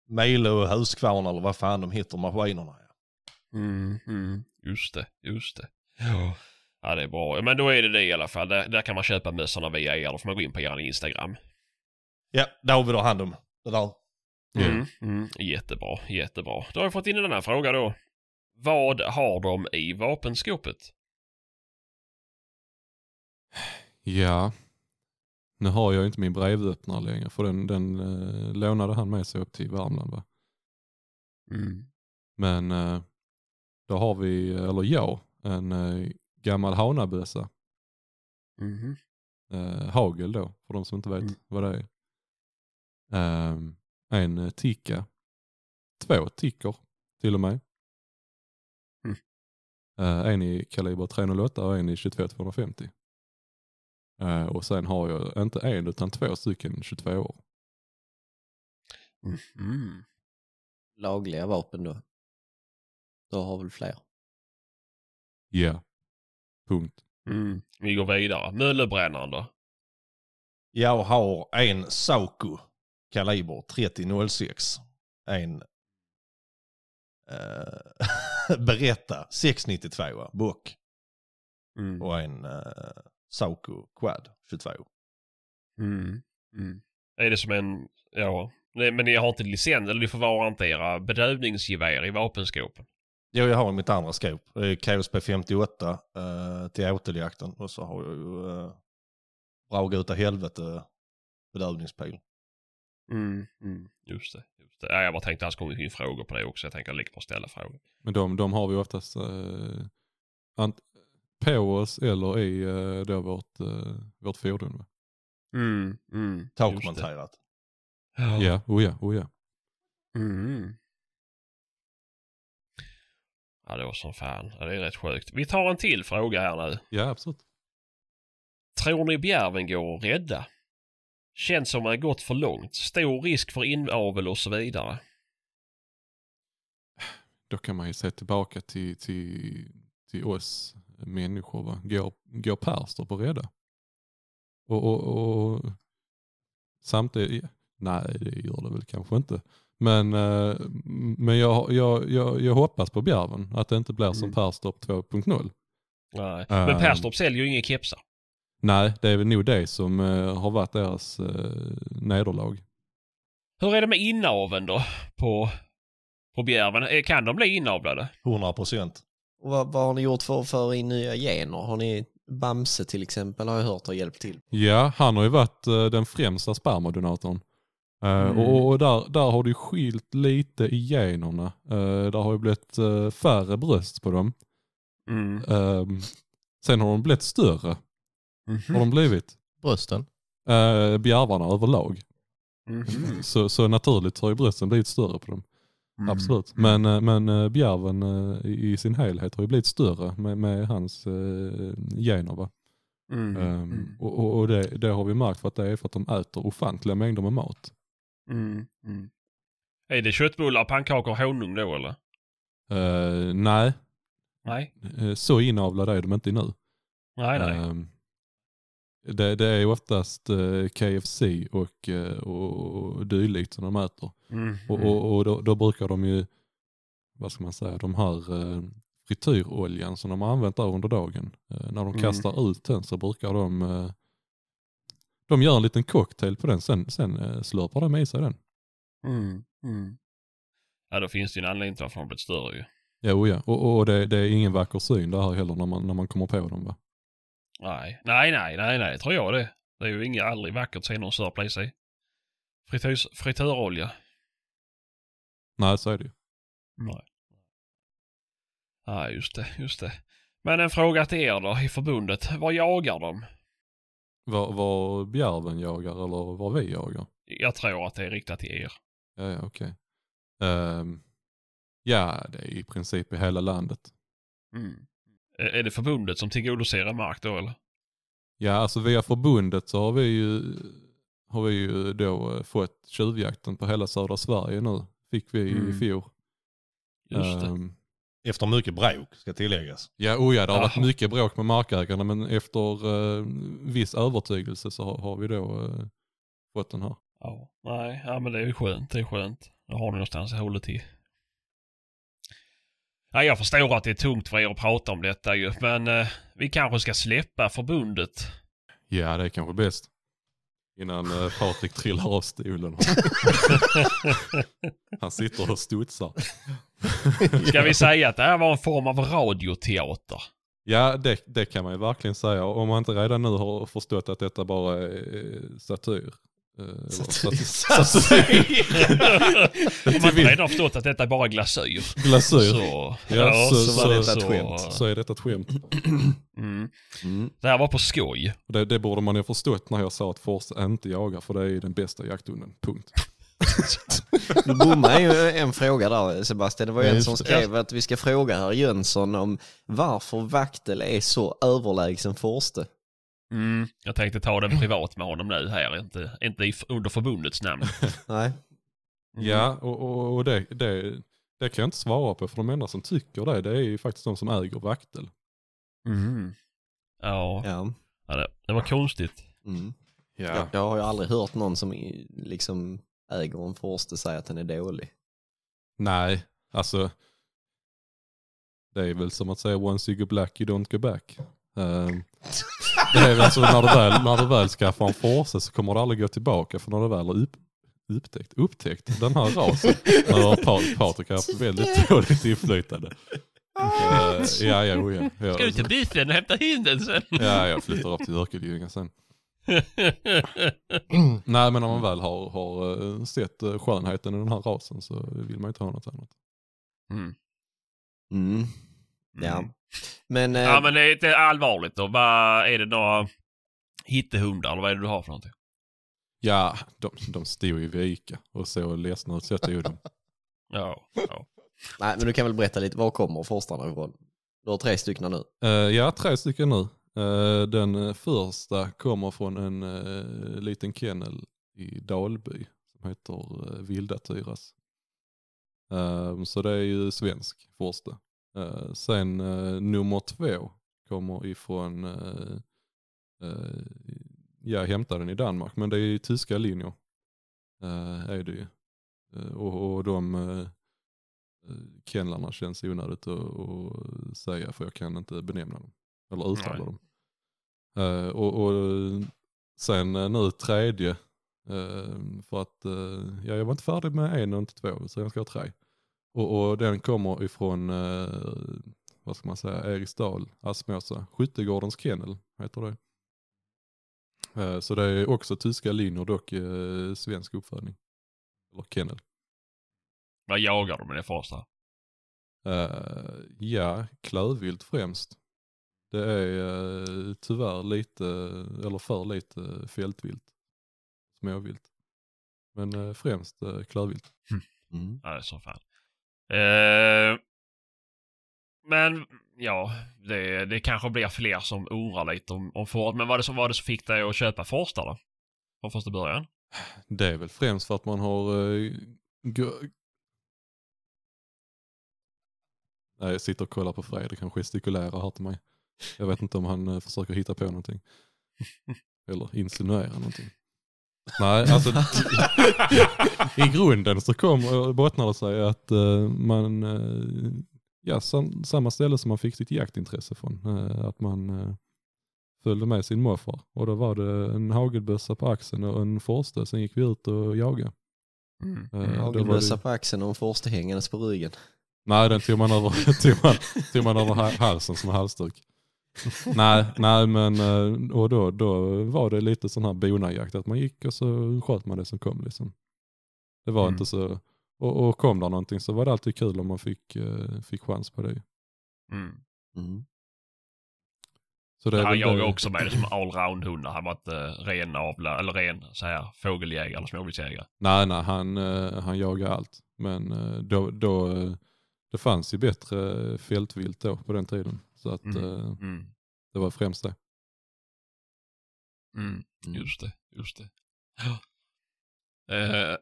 Milo och Huskvarna eller vad fan de heter maskinerna. Mm, mm. Just det, just det. Ja. Ja, det är bra. Men då är det det i alla fall. Där, där kan man köpa mössorna via er. Då får man gå in på er Instagram. Ja, David har hand om det där. Ja. Mm. Mm. Jättebra, jättebra. Då har jag fått in den här frågan då. Vad har de i vapenskåpet? Ja. Nu har jag ju inte min brevöppnare längre för den, den eh, lånade han med sig upp till Värmland va? Mm. Men eh, då har vi, eller jag, en eh, gammal hanabössa. Mhm. Eh, hagel då, för de som inte vet Mm. vad det är. Ehm, en eh, ticka. Två tickor till och med. Mm. Eh, en i kaliber 308 och en i 22-250. Eh, och sen har jag inte en utan två stycken 22 år. Mhm. Lagliga vapen då. Du har väl fler? Ja. Punkt. Mm. Vi går vidare. Möllebrännaren då? Jag har en Sauco kaliber 3006. En eh, <laughs> Beretta 692 bock Mm. och en eh, Sauco Quad 22. Mm. Mm. Är det som en... Ja. Nej, men ni har inte licens, eller ni förvarar inte era bedövningsgevär i vapenskåpen? Jo, jag har mitt andra skåp. Det är KSP 58 eh, till åteljakten och så har jag ju eh, Braga utav helvete eh, bedövningspil. Mm, mm. Just det. Just det. Ja, jag bara tänkte att han skulle komma in frågor på det också. Jag tänker lika bra ställa frågor. Men de, de har vi oftast eh, ant- på oss eller i eh, då vårt, eh, vårt fordon. Va? Mm, mm. Takmonterat. Ja. Ja, oh ja, oh ja. Mm. Ja, det var som fan. Ja, det är rätt sjukt. Vi tar en till fråga här nu. Ja, absolut. Tror ni bjärven går att rädda? Känns som man gått för långt. Stor risk för inavel och så vidare. då kan man ju se tillbaka till, till, till oss människor. Va? Går, går Perstorp och rädda? Och, och, och samtidigt, nej det gör det väl kanske inte. Men, eh, men jag, jag, jag, jag hoppas på Bjärven, att det inte blir som Mm. Perstorp 2.0. Nej. Ehm. Men Perstorp säljer ju inga kepsar. Nej, det är väl nog det som eh, har varit deras eh, nederlag. Hur är det med inaveln då? På, på bjärven? Eh, Kan de bli inavlade? 100 procent. Och vad, vad har ni gjort för att föra in nya gener? Har ni Bamse till exempel har jag hört har hjälpt till. Ja, han har ju varit eh, den främsta spermadonatorn. Eh, Mm. Och, och där, där har det ju skilt lite i generna. Eh, där har ju blivit eh, färre bröst på dem. Mm. Eh, sen har de blivit större, Mm-hmm. har de blivit. Brösten. Eh, bjärvarna överlag. Mhm. Så, så naturligt har ju brösten blivit större på dem. Mm. Absolut. Men, eh, men eh, bjärven eh, i i sin helhet har ju blivit större med, med hans eh, gener. Va? Mm. Eh, Mm. Och, och, och det, det har vi märkt för att det är för att de äter ofantliga mängder med mat. Mm. Mm. Är det köttbullar, pannkakor och honung då eller? Eh, nej, Nej. Eh, så inavlade är de inte nu. Nej, nej. Ehm, Det, det är ju oftast eh, KFC och, eh, och, och dylikt som de äter. Ehm, Mm. Och, och, och då, då brukar de ju, vad ska man säga, de här eh, frityroljan som de har använt där under dagen. Eh, när de Mm. kastar ut den så brukar de, eh, de gör en liten cocktail på den, sen, sen eh, slurpar de i sig den. Mm. Ja, då finns det ju en anledning till varför de blivit större ju. Jo ja, och, och, och det, det är ingen vacker syn det här heller när man, när man kommer på dem va. Nej, nej, nej, nej, nej, tror jag det. Det är ju inget aldrig vackert att se någon sörpla i sig. Fritös, frityrolja. Nej så är det ju. Nej. Nej, just det, just det. Men en fråga till er då i förbundet. Vad jagar de? Var, var bjärven jagar eller var vi jagar. Jag tror att det är riktat till er. Ja, ja okej. Ehm, ja, det är i princip i hela landet. Mm. Ä- Är det förbundet som tillgodoser er mark då eller? Ja, alltså via förbundet så har vi ju, har vi ju då eh, fått tjuvjakten på hela södra Sverige nu. Fick vi i Mm. fjol. Just det. Ehm, Efter mycket bråk, ska tilläggas. ja, oh ja, det har varit Jaha. mycket bråk med markägarna men efter eh, viss övertygelse så har, har vi då eh, fått den här. Ja. Nej, ja, men det är ju skönt, det är skönt. Då har ni någonstans att hålla till. Nej, jag förstår att det är tungt för er att prata om detta ju, men eh, vi kanske ska släppa förbundet. Ja, det är kanske bäst. Innan eh, Patrik trillar av stolen. Han sitter och studsar. Ska vi säga att det här var en form av <laughs> radioteater? Ja, det, det kan man ju verkligen säga. Om man inte redan nu har förstått att detta bara är eh, satir. Eh, <laughs> eller sat- Om man inte redan har förstått att detta är bara glasyr. Glasyr. Så, Ja, så- så var detta ett skämt. Så är detta ett skämt. Mm. <laughs> Mm. Det här var på skoj. Och Det, det borde man ju ha förstått när jag sa att Forsa inte jagar, för det är ju den bästa jakthunden. Punkt. Du bommade ju en fråga där Sebastian. Det var ju Ja, en just som det. skrev att vi ska fråga herr Jönsson om varför Vaktel är så överlägsen Forste. Mm. Jag tänkte ta den privat med honom nu här, inte, inte i, under förbundets namn. Nej. Mm. Ja, och, och, och det, det, det kan jag inte svara på, för de enda som tycker det, det är ju faktiskt de som äger vaktel. Mm. Ja, Ja. ja det, det var konstigt. Mm. Jag, jag har ju aldrig hört någon som i- liksom äger en Forste säga att den är dålig. Nej, alltså. Det är väl som att säga once you go black you don't go back. Ehm, det är väl alltså när du väl, när du väl skaffar en forse så kommer du aldrig gå tillbaka för när du väl har upp, upptäckt, upptäckt den här rasen. Där har Pat- Patrik har haft väldigt dåligt inflytande. Ehm, ja, ja, oh ja, ja. Ska du typ- till biffen och hämta hinden sen? Ja, jag flyttar upp till Örkelljunga sen. Nej, men när man väl har, har eh, sett eh, skönheten i den här rasen så vill man ju inte ha något annat. Mm. Mm. Ja. Men, eh, Ja, men det är inte allvarligt då. Vad är det några hittehundar eller vad är det du har för någonting? Ja, de, de stod ju vid Ica och såg ledsna ut så jag tog dem. Ja. ja. nej, men du kan väl berätta lite, var kommer Forstarna ifrån? Du har tre stycken nu. Eh, ja, tre stycken nu. Eh, den eh, första kommer från en eh, liten kennel i Dalby som heter eh, Vilda Tyras. Eh, så det är ju svensk första. Eh, sen eh, nummer två kommer ifrån, eh, eh, jag hämtade den i Danmark, men det är ju tyska linjer. Eh, är det ju. Eh, och, och de eh, eh, kennlarna känns onödigt att, att säga för jag kan inte benämna dem. Eller uttala Nej. dem. Eh, och, och sen eh, nu tredje. eh, för att eh, ja, jag var inte färdig med en och inte två så jag ska ha tre. Och, och den kommer ifrån, eh, vad ska man säga, Eriksdal, Aspmåsa, Skyttegårdens kennel heter det. Eh, så det är också tyska linjer dock eh, svensk uppfödning. Eller kennel. Vad jagar de med det första? Eh, ja, klövvilt främst. Det är eh, tyvärr lite, eller för lite fältvilt. Småvilt. Men eh, främst eh, klövvilt. Mm. Nej, så fan. Eh, men ja, det, det kanske blir fler som orar lite om, om Ford. Men vad är det som var det som fick dig att köpa Forsta då? Från första början? Det är väl främst för att man har... eh, gö- Nej, jag sitter och kollar <laughs> på Fredrik, han gestikulerar här till mig. Jag vet inte om han eh, försöker hitta på någonting. Eller insinuera någonting. <laughs> Nej, alltså i grunden så kommer, bottnar det sig att eh, man, eh, ja sam, samma ställe som man fick sitt jaktintresse från, eh, att man eh, följde med sin morfar. Och då var det en hagelbössa på axeln och en forste, sen gick vi ut och jagade. Mm. Eh, då var det- Hagelbössa på axeln och en forste hängandes på ryggen. Nej, den tog man <laughs> över, tog man, tog man över ha- halsen som en halsduk. nej, nej, men eh, och då, då var det lite sån här bonajakt, att man gick och så sköt man det som kom. Liksom. Det var Mm. inte så, och, och kom där någonting så var det alltid kul om man fick, eh, fick chans på det. Mm. Mm. Så det är Han väl jagar det- också med det som allroundhundar. Han var inte eh, renavla, eller ren så här, fågeljägare eller småviltsjägare. Nej, nej, han, eh, han jagar allt. Men eh, då, då, eh, det fanns ju bättre fältvilt då på den tiden. Så att Mm. eh, Mm. det var främst det. Mm. Mm. Just det, just <gasps> det. <laughs> Ja. Eh,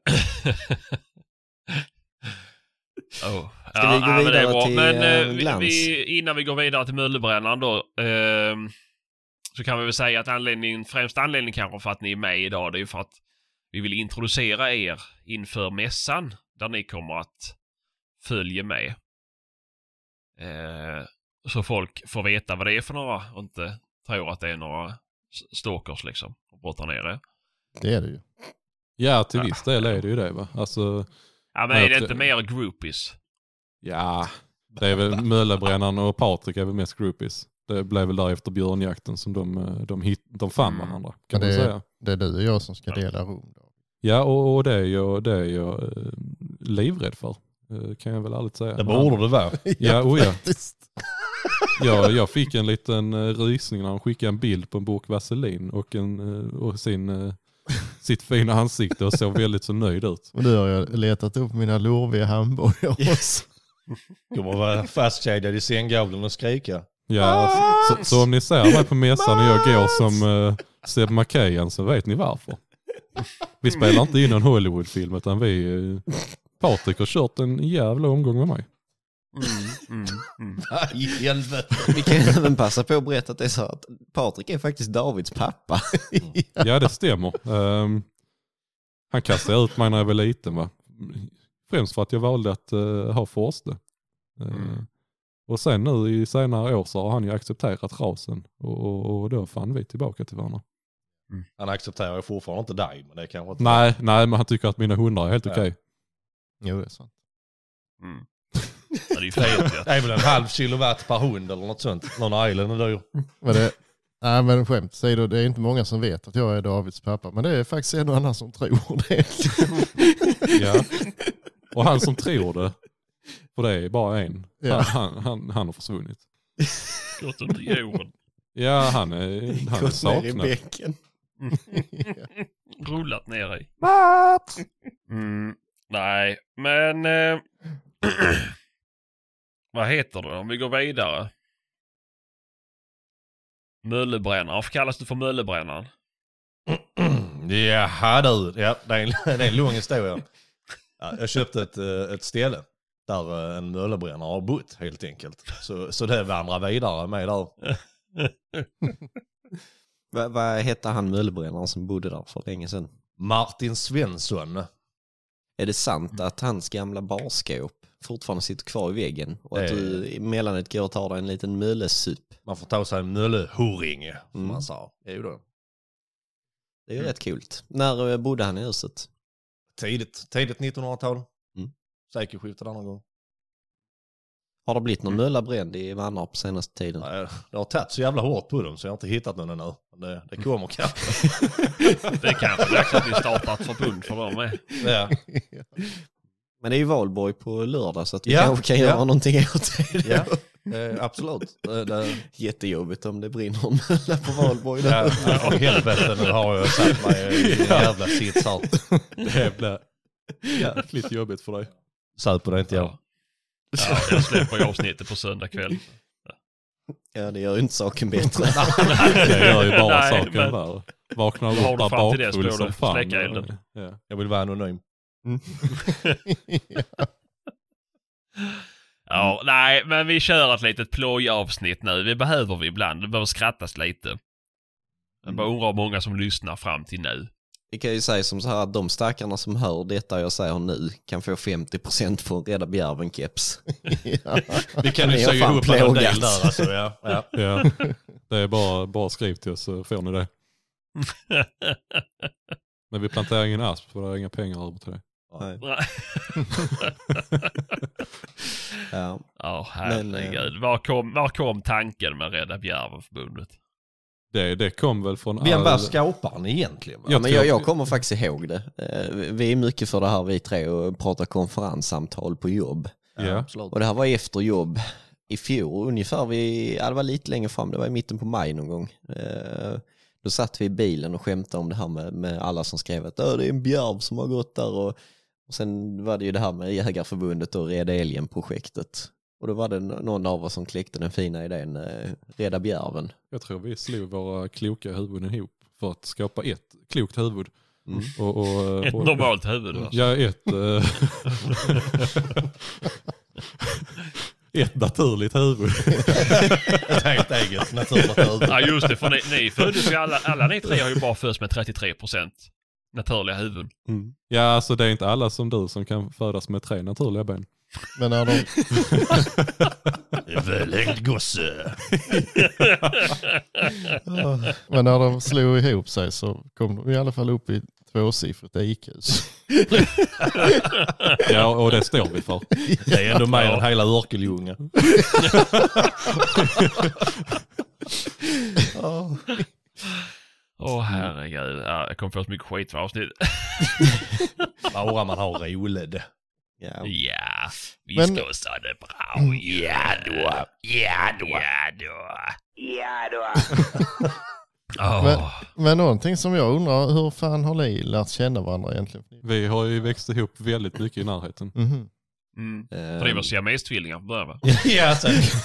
oh. Ska vi men gå det är vidare bra. till, men, eh, eh, vi, glans? vi, Innan vi går vidare till mullebrännaren då. ehm, så kan vi väl säga att anledningen, främsta anledningen kanske för att ni är med idag det är ju för att vi vill introducera er inför mässan där ni kommer att följa med. Eh, så folk får veta vad det är för några och inte tror att det är några s- stalkers liksom och brottar ner det. Det är det ju. Ja, till viss del är det ju det va. Alltså, Ja, men Men är det att- inte mer groupies? Ja, det är väl Möllebrännaren och Patrik är väl mest groupies. Det blev väl där efter björnjakten som de, eh, de, hit, de fann Mm. varandra. Kan Ja, man det- säga. Det är du och jag som ska dela rum. Då. Ja, och, och det är jag, det är jag eh, livrädd för. Eh, Kan jag väl ärligt säga. Det borde det <laughs> vara. Ja, <laughs> oh ja. Jag, jag fick en liten eh, rysning när han skickade en bild på en burk vaselin och, en, eh, och sin, eh, sitt fina ansikte och såg väldigt så nöjd ut. Och nu har jag letat upp mina lorviga handbojor. Yes. Kommer vara fastkedjad i sänggavlen och skrika. Ja, så, så om ni ser mig på mässan och jag går som uh, Seb Macahan så vet ni varför. Vi spelar inte in en Hollywoodfilm utan vi... Uh, Patrik har kört en jävla omgång med mig. Mm, mm. Vad i helvete. <laughs> Vi kan även passa på att berätta att det är så att Patrik är faktiskt Davids pappa. Ja det stämmer. Ehm, han kastade ut mig när jag var liten va. Främst för att jag valde att eh, ha Forste. Ehm, Mm. Och sen nu i senare år så har han ju accepterat rasen och, och, och då fann vi tillbaka till varandra. Han accepterar ju fortfarande inte dig, men det är kanske inte... Nej, nej men han tycker att mina hundar är helt Ja. okej. Jo, det är sant. Mm. <laughs> Ja, det är ju fint ju. Det är väl en halv kilowatt per hund eller något sånt. Någon island är dyr. Men det, nej men skämt säger du, det är inte många som vet att jag är Davids pappa. Men det är faktiskt en och annan som tror <laughs> det. Ja. Och han som tror det, för det är bara en, Ja. han, han, han, han har försvunnit. Gått under jorden. Ja, <laughs> han är, <laughs> han är Gått ner i saknad. bäcken. Rullat ner i. Mm. Nej, men... Eh, <clears throat> vad heter det om vi går vidare? Möllebrännaren. Varför kallas du för Möllebrännaren? Jaha du, ja, det, är en, <laughs> det är en lång historia. Ja, jag köpte ett, eh, ett ställe där eh, en möllebrännare har bott helt enkelt. Så, så det vandrar vidare med där. Va- Vad hette han möllebrännaren som bodde där för länge sedan? Martin Svensson. Är det sant att hans gamla barskåp fortfarande sitter kvar i väggen och att Eh. du emellan ett går och tar dig en liten möllesup? Man får ta sig en möllehurring, som Mm. man sa. Jo då. Det är ju Mm. rätt kul. När eh, bodde han i huset? Tidigt, tidigt 1900-tal. Mm. Sekelskiftet någon gång. Har det blivit någon mölla bränd i Vanarp på senaste tiden? Nej, Det har tagit så jävla hårt på dem så jag har inte hittat någon ännu. Men det, det kommer kanske. Det är kanske dags att vi startar ett förbund för dem <laughs> med. Ja. Men det är ju valborg på lördag så att vi Ja, kanske kan ja. göra någonting åt det. Ja, eh, absolut. Det, det, <laughs> Jättejobbigt om det brinner en mölla på valborg. ja, för helvete, nu har jag satt mig i en jävla sits här. Det blev jäkligt jobbigt för dig. Söp på det inte jag. Ja, jag släpper ju avsnittet på söndag kväll. Ja, det gör ju inte saken bättre. Det gör ju <laughs> bara Nej, saken men- värre. Vaknar Vad har upp där du fram till det, bakfull slår som du? fan. Släcka elden. Ja. Jag vill vara anonym. Ja, nej, men vi kör ett litet plojavsnitt nu. Vi behöver vi ibland. Det behöver skrattas lite. Jag bara undrar hur många som lyssnar fram till nu. <laughs> Vi kan ju säga som så här att de stackarna som hör detta jag säger nu kan få 50% på en Rädda <laughs> Bjärven-keps. Ja. Vi <laughs> kan ju Ni har säga fan ihop en del plågat. där alltså. <laughs> Ja, ja. Ja. Det är bara, bara skriv till oss så får <laughs> ni det. Men vi planterar ingen asp för det är inga pengar över till det. Nej. Ja. Ja, Men, herregud. Var kom, var kom tanken med Rädda Bjärvenförbundet? Det, det kom väl från Vem all- bär skaparen egentligen? va? Jag men tror- jag, jag kommer faktiskt ihåg det. Eh, vi- Vi är mycket för det här vi tre och pratar konferenssamtal på jobb. Ja. absolut. Och det här var efter jobb i fjol ungefär. Vi, ja, det var lite längre fram, det var i mitten på maj någon gång. Eh, Då satt vi i bilen och skämtade om det här med, med alla som skrev att "Åh, det är en bjärv som har gått där. Och, och sen var det ju det här med Jägarförbundet och Rädda Älgen-projektet. Och då var det no- någon av oss som kläckte den fina idén, eh, Rädda Bjärven. Jag tror vi slog våra kloka huvuden ihop för att skapa ett klokt huvud. Mm. Och, och, Ett och, normalt huvud <laughs> va? Ja, ett... eh, <laughs> ett naturligt huvud. Ett helt eget naturligt Ja just det, för ni, ni föddes ju alla, alla ni tre har ju bara fötts med 33% naturliga huvuden. Ja, alltså det är inte alla som du som kan födas med tre naturliga ben. Men är de, Välhängd gosse. men när de slog ihop sig så kom de i alla fall upp i tvåsiffrigt IQ. Ja, och det står vi för. Det är ändå mer än hela Örkeljunga. Åh herregud, ja, jag kommer få så mycket skit för avsnitt. Bara man har roligt. Ja. Ja, vi Men- ska så det bra Ja då, ja då. Ja då. Ja då. <laughs> Men- Men någonting som jag undrar, hur fan har ni lärt känna varandra egentligen? Vi har ju växt ihop väldigt mycket i närheten. Mhm. Mm. Eh, För det <laughs> var siamestvillingar från början va? <laughs> Ja,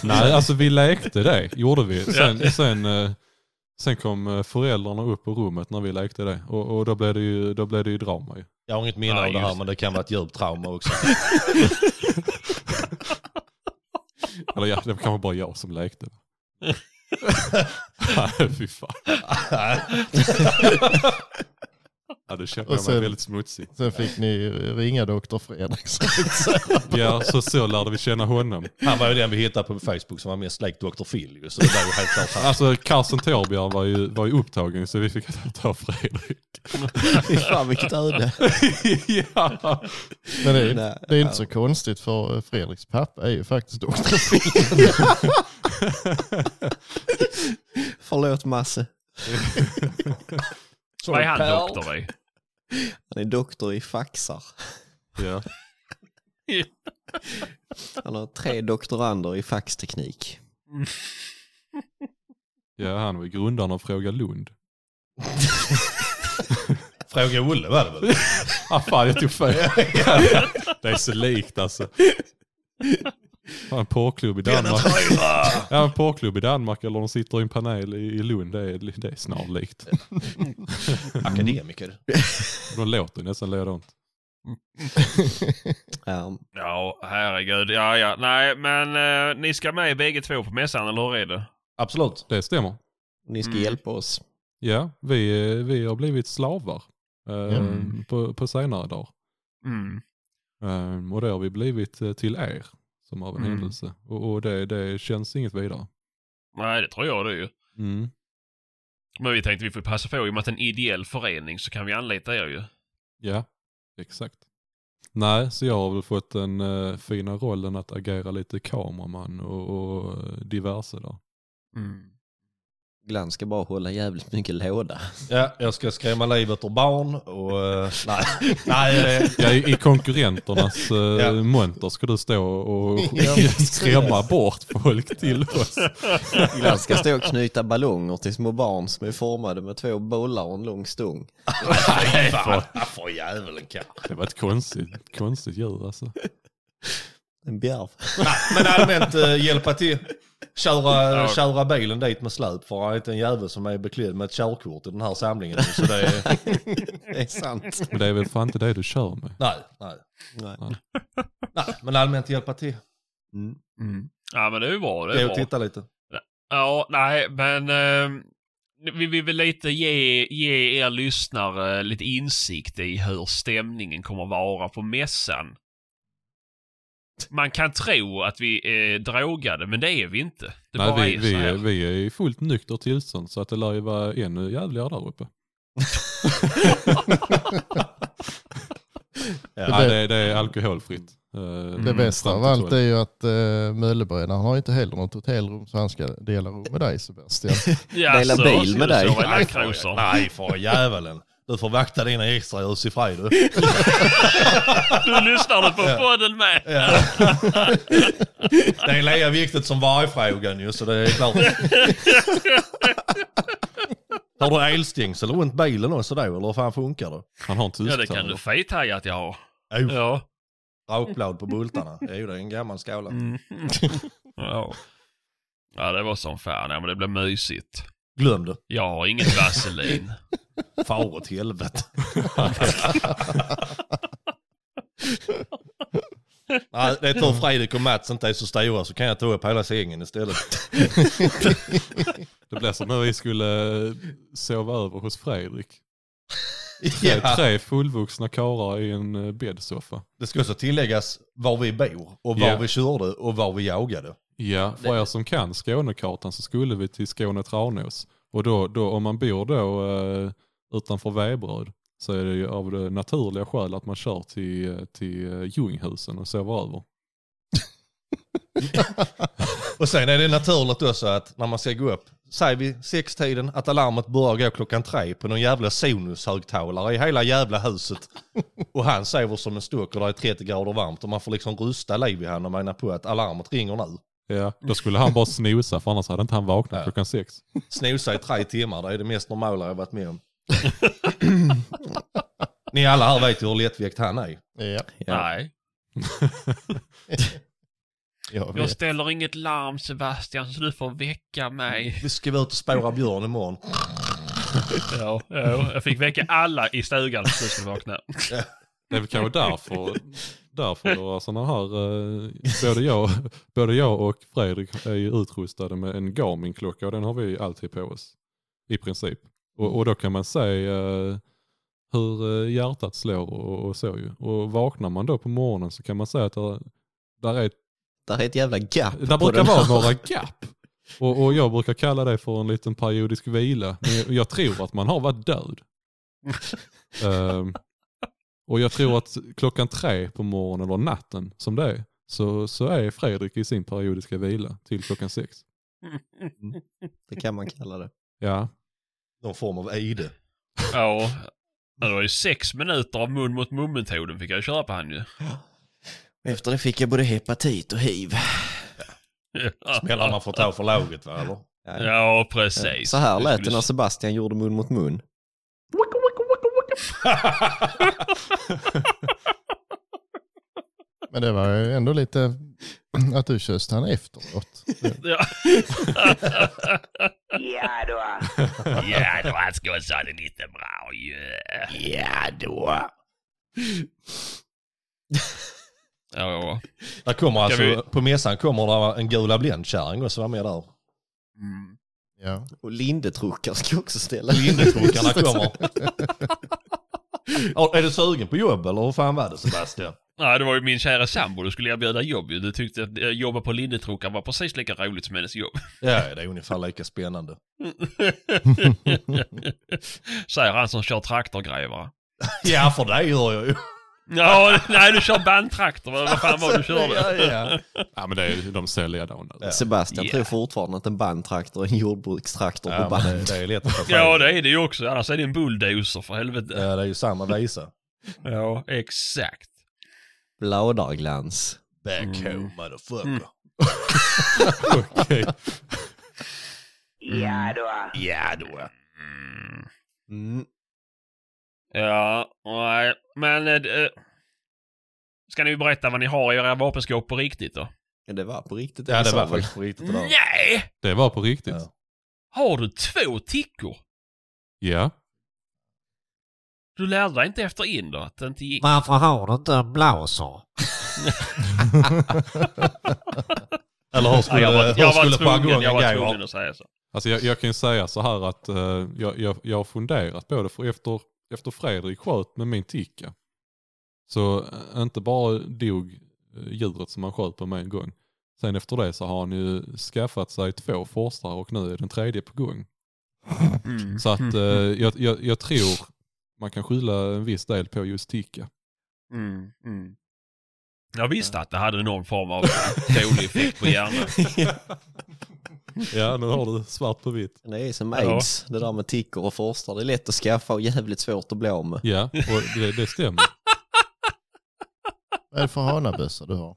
Nej, alltså vi lekte det, gjorde vi. Sen, sen, eh, sen kom eh, föräldrarna upp på rummet när vi lekte det. Och, och då, blev det ju, då blev det ju drama ju. Jag har inget minne Ja, av det här just men det kan vara ett djupt trauma <laughs> också. Eller ja, det var kanske bara jag som <laughs> lekte. Nej, fy fan. Ja, det kände Och jag mig sen- väldigt smutsig. Sen fick ni ringa doktor Fredrik. Ja, så, så lärde vi känna honom. Han var ju den vi hittade på Facebook som var mest lik Dr. Phil ju, så det var ju helt klart han. Alltså Carsten Torbjörn var ju, var ju upptagen så vi fick ta Fredrik. Fy fan vilket öde. ja. Men det, är- Nej, det är ja. inte så konstigt för eh, Fredriks pappa är ju faktiskt doktor. Förlåt Masse. <laughs> Vad är han doktor i? Han är doktor i faxar. ja. Han har tre doktorander i faxteknik. Ja, han var ju grundaren av Fråga Lund. Fråga Olle var det väl? Ah, fan, jag tog fel. <laughs> det är så likt <laughs> alltså. Har en porrklubb i Danmark. <laughs> Ja, en porrklubb i Danmark eller de sitter i en panel i, i Lund. Det är, det är snarlikt. <laughs> Akademiker. De låter nästan likadant. Ja, Ja, herregud. Ja, ja. Nej, men eh, ni ska med bägge två på mässan, eller hur är det? Absolut. Det stämmer. ni ska Mm. hjälpa oss. Ja, vi, eh, vi har blivit slavar eh, Mm. på, på senare dagar. Mm. Eh, och det har vi blivit eh, till er som av en Mm. händelse. Och, och det, det känns inget vidare. Nej, det tror jag det är ju. Mm. Men vi tänkte vi får passa på, i och med att det är en ideell förening så kan vi anlita er ju. Ja, exakt. Nej, så jag har väl fått den eh, fina rollen att agera lite kameraman och, och eh, diverse där. Mm. Glenn ska bara hålla jävligt mycket låda. Ja, jag ska skrämma livet ur barn och... eh, <laughs> nej, nej det, Ja, i, i <laughs> konkurrenternas eh, Ja. monter ska du stå och <laughs> Ja, precis. skrämma bort folk till oss. Glenn ska stå och knyta ballonger till små barn som är formade med två bollar och en lång stång. nej, fan. Vad för djävulen kan. Det var ett konstigt, konstigt djur alltså. En bjärv. <laughs> Men allmänt eh, hjälpa till. Köra, eh, Ja. köra bilen dit med släp för det är inte en jävel som är beklädd med ett körkort i den här samlingen. Så det <laughs> är... Det är sant. Men det är väl fan inte det du kör med. Nej, nej. Nej. Nej, men allmänt hjälpa till. Mm. Ja, men det är ju bra. Det Gå är och bra. titta lite. Ja, nej, men eh, vi vill väl lite ge, ge er lyssnare lite insikt i hur stämningen kommer vara på mässan. Man kan tro att vi är drogade, men det är vi inte. Det bara Nej, är vi, så vi, här. är, vi är i fullt nykter tillstånd så att det lär ju vara ännu jävligare där <laughs> uppe. Ja, det- det, det är alkoholfritt. Eh, Det Mm, bästa av fram till allt är ju att uh, Möllebrenaren har inte heller något hotellrum så han ska dela rum med dig Sebastian. Ja, Dela så bil ska med du dig. sova i Nej, lakrosor. för- Nej, för djävulen. Du får vakta dina extra ljus i fri du. Nu lyssnar du på podden med. Ja. Det är lika viktigt som vargfrågan ju, så det är <laughs> klart. Har du elstängsel runt bilen också då, eller hur fan funkar det? Han har en tysk Ja, det kan du fethaja att jag har. Oh, Ja. Rakblad på bultarna. Jo, det är en gammal skala. Mm. ja. ja, det var som fan. Ja, men det blev mysigt. Glöm det. Jag har inget vaselin. Far åt <laughs> helvete. Nej, det är tur Fredrik och Mats inte är så stora så kan jag ta upp hela sängen istället. Det blev som när vi skulle eh, sova över hos Fredrik. Tre, <laughs> Ja. tre fullvuxna karlar i en eh, bäddsoffa. Det ska också tilläggas var vi bor och var Ja. vi körde och var vi jagade. Ja, för er som kan Skånekartan så skulle vi till Skåne Tranås. Och då, då om man bor då eh, utanför Veberöd så är det ju av det naturliga skäl att man kör till, eh, till eh, Ljunghusen och sover över. Och sen är det naturligt också att när man ska gå upp, säger vi sextiden, att alarmet börjar gå klockan tre på någon jävla Sonos-högtalare i hela jävla <laughs> huset. Och han sover som en stuck och det är 30 grader varmt och man får liksom rusta liv i honom och mena på att alarmet ringer nu. Ja, då skulle han bara snosa för annars hade inte han vaknat Ja. klockan sex. Snosa i tre timmar, det är det mest normala jag varit med om. <laughs> Ni alla här vet ju hur lättväckt han är. ja, Nej. jag Jag vet. ställer inget larm Sebastian, så du får <laughs> väcka mig. Vi ska vara ute och spåra björn imorgon. Ja, ja, jag fick väcka alla i stugan så du skulle vakna. Det är väl kanske därför, därför det var sådana här, eh, både, jag, både jag och Fredrik är ju utrustade med en Garmin-klocka och den har vi ju alltid på oss. I princip. Och, och då kan man se eh, hur eh, hjärtat slår och, och så ju. Och vaknar man då på morgonen så kan man se att där, där, är, Där är ett jävla gap. på där brukar den här. vara några gap. Och, och jag brukar kalla det för en liten periodisk vila. Men jag, jag tror att man har <laughs> varit död. Ehm, och jag tror att klockan tre på morgonen eller natten som det är, så, så är Fredrik i sin periodiska vila till klockan sex. Det kan man kalla det. Ja, Någon form av ide. Ja. Det var ju sex minuter av mun mot mun-metoden fick jag köra på han ju. Efter det fick jag både hepatit och hiv. Smällar man får ta för laget va, eller? Ja, precis. Så här lät det skulle- när Sebastian gjorde mun mot mun. Men det var ju ändå lite att du kysste han efteråt. <laughs> Ja. Ja då. ja, då han ska ha det lite bra ju. Ja då. Ja, Där kommer alltså, vi- på mässan kommer det en gula blendkärring och så var med där. mm. Ja. Och lindetruckar ska också <laughs> ställa. Lindetruckarna kommer. Ja, är du sugen på jobb eller hur fan var det Sebastian? Nej, det var ju min kära sambo du skulle erbjuda jobb ju. Du tyckte att eh, jobba på lindetrokar var precis lika roligt som <laughs> hennes jobb. Ja, det är ungefär lika spännande. Säger han som kör traktorgrävare. Ja, för det gör jag ju. Ja, nej du kör bandtraktor. Vad vad fan var det du körde? Ja, ja. ja men det är, de ser likadana ut. Sebastian Ja. tror fortfarande att en bandtraktor är en jordbrukstraktor Ja, på men band. det, det är lätt att ta fel. Ja, det är det ju också. Annars är det en bulldozer för helvete. Ja, det är ju samma visa. Ja, exakt. Bladerglans. Back Mm. home motherfucker. Mm. Okej. Mm. Ja då. Ja då. Mm. Mm. Ja, nej. Men... Äh, ska ni berätta vad ni har i era vapenskåp på riktigt då? Ja, Det var på riktigt. Ja, vi det sa var väl. faktiskt på riktigt det där. Nej! Det var på riktigt. Ja. Har du två tickor? Ja. Du lärde dig inte efter in då att det inte gick? Varför har du inte en blåser? Eller hur Ja, skulle, jag var, jag hur skulle var tvungen, jag jargongen var gå? tvungen att säga så. Alltså jag, jag kan ju säga så här att eh, jag, jag, jag har funderat på det för efter, efter Fredrik sköt med min ticka så eh, inte bara dog eh, djuret som han sköt på med en gång. Sen efter det så har han ju skaffat sig två forstar och nu är den tredje på gång. Så att eh, jag, jag, jag tror man kan skylla en viss del på just ticka. Mm, mm. Jag visste att det hade någon form av dålig effekt på hjärnan. Ja nu har du svart på vitt. Det är som Ja. aids, det där med tickor och forstar. Det är lätt att skaffa och jävligt svårt att bli av med. Ja och det, det stämmer. Vad är det för hanabössa du har?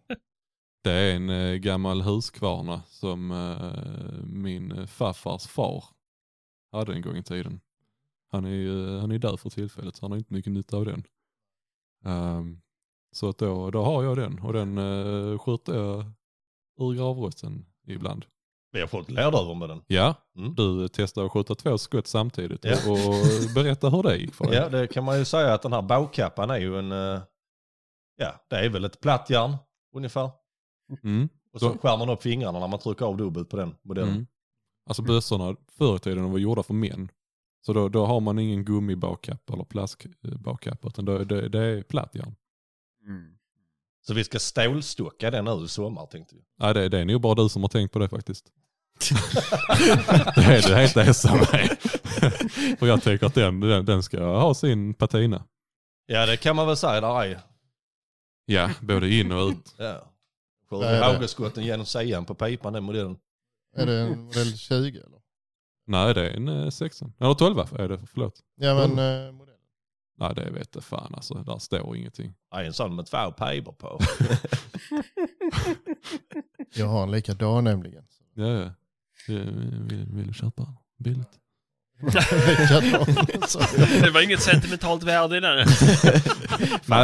Det är en eh, gammal huskvarna som eh, min farfars far hade en gång i tiden. Han är ju eh, han är död för tillfället så han har inte mycket nytta av den. Ehm, så att då, då har jag den och den eh, skjuter jag ur gravrosten ibland. Vi har fått lerduvor med den. Ja, Mm. du testade att skjuta två skott samtidigt Ja. och berätta hur det gick för dig. Ja, det kan man ju säga att den här baukappan är ju en... eh, Ja, det är väl ett plattjärn ungefär. Mm. Och så Så- skär man upp fingrarna när man trycker av dubbelt på den modellen. Mm. Alltså bössorna förr i tiden de var gjorda för män. Så då, då har man ingen gummibakkapp eller plastbakkapp utan då, det, det är plattjärn. Mm. Så vi ska stålstocka den nu i sommar tänkte vi. Nej det, det är nog bara du som har tänkt på det <laughs> faktiskt. det är du helt ensam med. Och jag tänker att den, den, den ska ha sin patina. Ja, det kan man väl säga där är. Ja, både in och ut. Ja. Vad är det? Skjuter hagelskotten genom sidan på pipan den modellen. Är det en modell 20 eller? Nej det är en eh, 16. Eller 12 är det, förlåt. Ja men eh, modell. Nej det vet jag fan alltså, där står ingenting. Nej, en sån med två pipor på. Jag har en likadan nämligen. Ja, ja. Vill, vill, vill du köpa den? Billigt. <laughs> Likadan, sa jag. Det var inget sentimentalt värde i den. Nej,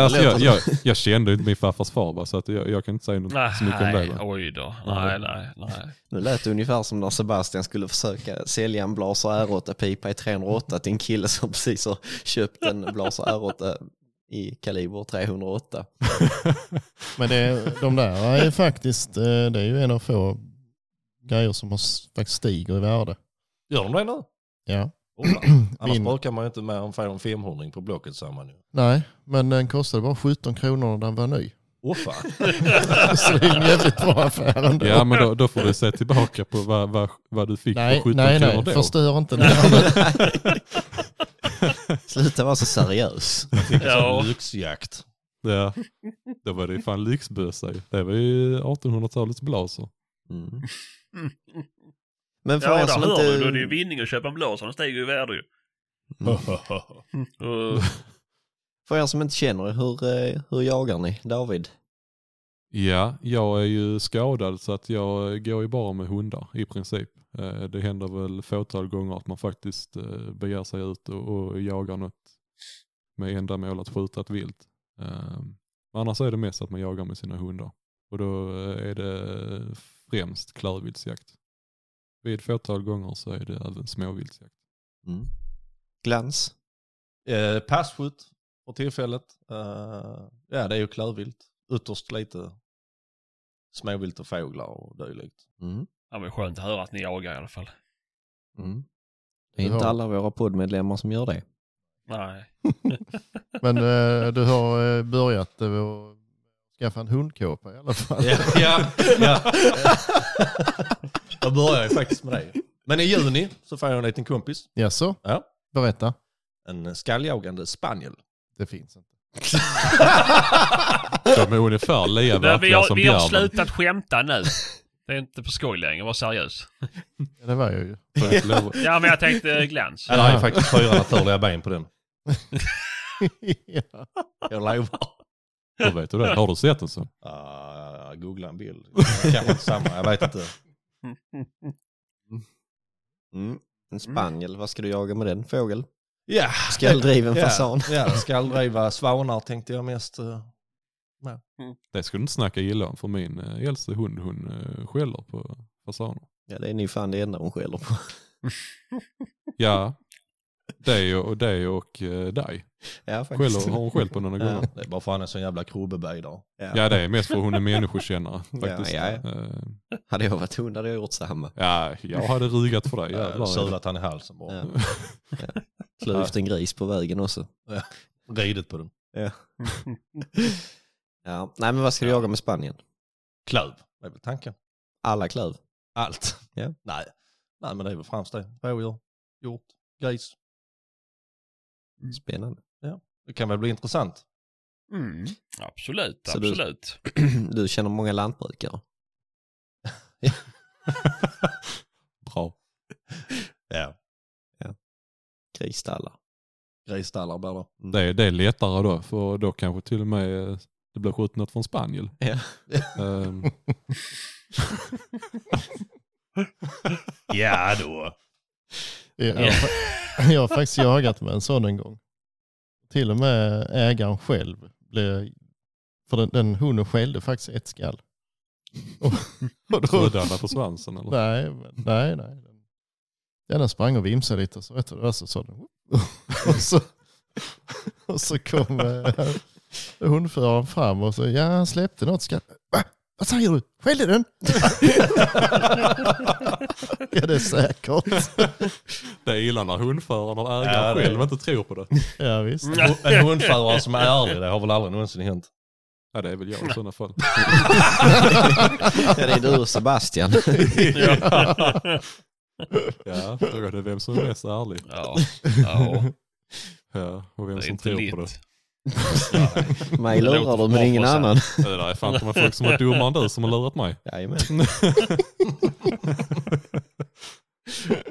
alltså, det jag, låter jag, jag kände inte min farfars far bara, så att jag, jag kan inte säga något <laughs> så mycket om det. Nej, va? oj då. Nej, nej, nej. Nu lät det ungefär som när Sebastian skulle försöka sälja en Blaser R8-pipa i 308 till en kille som precis har köpt en Blaser R8 i kaliber 308. Men det, de där är faktiskt, eh, det är ju en av få grejer som har s- faktiskt stiger i värde. Gör de det nu? Ja. Oh, fan. Annars Min- brukar man ju inte mer än få en femhundring på Blocket säger man ju. Nej, men den kostade bara 17 kronor när den var ny. Åh fan. Så det är en jävligt bra affär ändå. Ja, men då, då får du se tillbaka på vad, vad, vad du fick Nej, på 17 nej, kronor nej, då. <laughs> förstör inte den. Sluta vara så seriös. Ja. Lyxjakt. Ja. Då var det ju fan lyxbössa ju. Det var ju 1800-talets blaser. Mm. Men för Ja, er där som hör du. Då är det ju inte... vinning att köpa en blås. Den stiger ju i värde ju. Mm. Uh, För er som inte känner er, hur, eh, hur jagar ni? David? Ja, jag är ju skadad så att jag eh, går ju bara med hundar i princip. Eh, Det händer väl fåtal gånger att man faktiskt eh, beger sig ut och, och jagar något med ändamål att skjuta ett vilt. Eh, Men annars är det mest att man jagar med sina hundar. Och då eh, är det främst klövviltsjakt. Vid fåtal gånger så är det <laughs> även småviltsjakt. Glans? Eh, Passskjut för tillfället. Eh, ja, det är ju klövvilt. Ytterst lite småvilt och fåglar och dylikt. Mm. <laughs> ja, men skönt att höra att ni jagar i alla fall. Mm. Det är Du inte har- alla våra poddmedlemmar som gör det. Nej. Men eh, du har eh, börjat eh, att skaffa en hundkåpa i alla fall. Ja, ja, <laughs> ja. Jag börjar ju faktiskt med det. Men i juni så får jag en liten kompis. Jaså? Ja. Berätta. En skalljagande spaniel. Det finns inte. De är ungefär lika Men vi verkliga har, som vi har björnen. slutat skämta nu. Det är inte på skoj längre, var seriös. Ja, det var jag ju. Får jag inte lov att- Ja, men jag tänkte eh, glans. Ja, det är faktiskt fyra naturliga ben på den. ja. Jag lovar. Hur vet du det? Har du sett den så? Uh, googla en bild. Kanske inte samma, jag vet inte. Mm. En spaniel, vad ska du jaga med den? Fågel? Ja, Skalldriven <laughs> ja, fasan? Ja, skalldriva svanar tänkte jag mest. eh. Det skulle du inte snacka illa om för min eh, äldste hund hon eh, skäller på fasaner. Ja, det är ni fan det enda hon skäller på. Ja, dig och, dig och eh, dig. <laughs> Ja, Skäller, har hon skällt på några gånger? Ja. Det är bara för han är sån jävla krobebej idag. Ja det är mest för hon är människokännare faktiskt. Ja, ja, Eh, <laughs> Hade jag varit hon hade jag gjort samma. ja, jag hade rugat för dig Äh, jävlar. Sulat han i halsen bara. Ja. Ja. Slå ut en gris på vägen också. Ridit på den. Ja. Nej, men vad ska du jaga med Spanien? Klöv, det är väl tanken. Alla klöv. Allt. Ja. Nej. Nej, men det är väl främst det. Rådjur, hjort, gris. Spännande. <clears throat> Det kan väl bli intressant. Mm. Absolut, Så du- absolut. Du känner <laughs> många lantbrukare. Bra. Ja. Grisstallar. Grisstallar blir det. Det, är- det är lättare då, för då kanske till och med eh, det blir skjutit något från Spanien. Ja. Ehm, Ja då. Jag, jag, <laughs> jag har faktiskt jagat med en sån en gång. Till och med ägaren själv blev, för den, den hunden skällde faktiskt ett skall. Och, och då, Trodde alla på svansen <laughs> eller? nej, men- nej, nej. Den, den sprang och vimsade lite och så vet du, det var så sa den, <laughs> och så, och så kom eh, hundföraren fram och så, ja han släppte något skall. Va? Vad säger du? Skällde den? <laughs> ja det är säkert. Det är illa när hundföraren och Ja, ägaren det är- själv inte tror på det. Ja visst. En hundförare som är ärlig, det har väl aldrig någonsin hänt. Ja, det är väl jag i sådana fall. ja, det är du och Sebastian. <laughs> ja. Ja, frågan är vem som är mest ärlig. ja. ja. Ja, och vem Det är som inte tror på lätt. det. <laughs> Mig Det låter lurar du bra men ingen för sig. annan. Ja, Det där är fan inte folk <laughs> som är dummare än du som har lurat mig. Jajamän.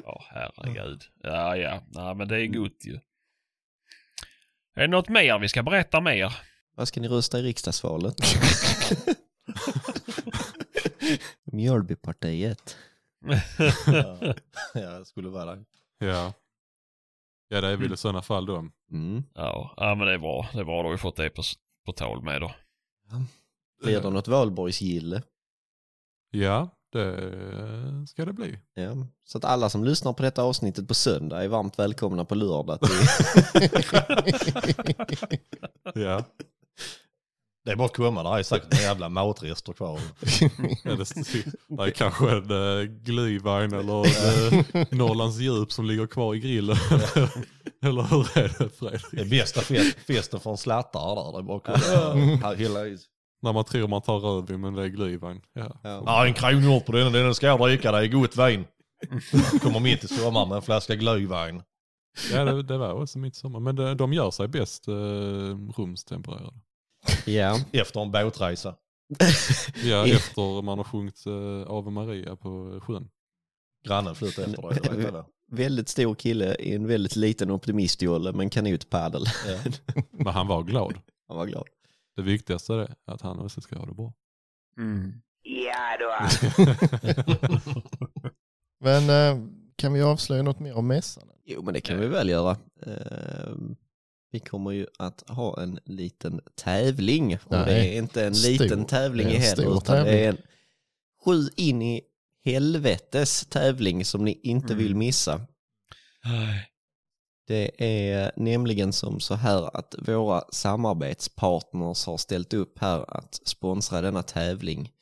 Ja, herregud. Ja, ja. Nej, men det är gott ju. Är det något mer vi ska berätta mer? <laughs> Vad ska ni rösta i riksdagsvalet? <laughs> Mjölbypartiet. Ja, det skulle vara det. Ja. Ja, det är väl i sådana fall de. Mm. Ja, ja men det är bra. Det är bra. Då har vi fått det på, på tal med då. Blir det något valborgsgille? Eh, Ja, det eh, ska det bli. Ja. Så att alla som lyssnar på detta avsnittet på söndag är varmt välkomna på lördag till <laughs> <laughs> Ja, Det är bara att komma, det är säkert en jävla matrester kvar. Ja, det, det är kanske en äh, glühwein eller <laughs> en, eh, Norrlands djup som ligger kvar i grillen. eller hur är det Det är Fredrik? bästa fest, festen för en slattare där, det är bara att komma. Här, Hela is. När man tror man tar rödvin men det är glühwein. Ja. Ja, en kronhjort på den, den ska jag dricka, det är gott vin. Kommer mitt i sommaren med en flaska glöjvin. Ja, det, det var också mitt sommar. Men det, de gör sig bäst eh, rumstempererade. ja. Efter en båtresa. Ja, efter man har sjungit eh, Ave Maria på sjön. Grannen flyttade efter dig, jag vet det. väldigt stor kille i en väldigt liten optimistjolle med en kanotpaddel. Ja. Men han var glad. Han var glad. Det viktigaste är att han också ska ha det bra. Mm. Ja då. Men eh, kan vi avslöja något mer om mässan? Jo, men det Eh. kan vi väl göra. Ehm, vi kommer ju att ha en liten tävling. Och det Nej. är inte en Stor. liten tävling Det i är en heller, stor utan det tävling. är en sju in i helvetes tävling som ni inte Mm. vill missa. Det är nämligen som så här att våra samarbetspartners har ställt upp här att sponsra denna tävling.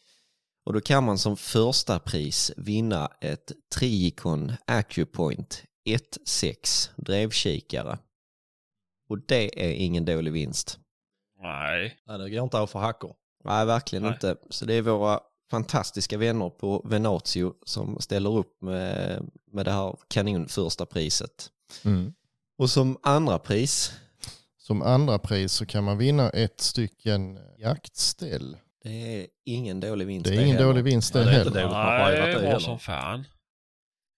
Och då kan man som första pris vinna ett Tricon Acupoint 1.6 drevkikare. Och det är ingen dålig vinst. Nej. Nej, det går inte av för hackor. Nej, verkligen Nej. inte. Så det är våra fantastiska vänner på Venatio som ställer upp med, med det här kanon första priset. Och som andra pris Som andra pris så kan man vinna ett stycken jaktställ. Det är ingen dålig vinst. Det är ingen heller. dålig vinst det Ja, det är inte heller. väl Nej, knappt att det det är heller. bra som fan.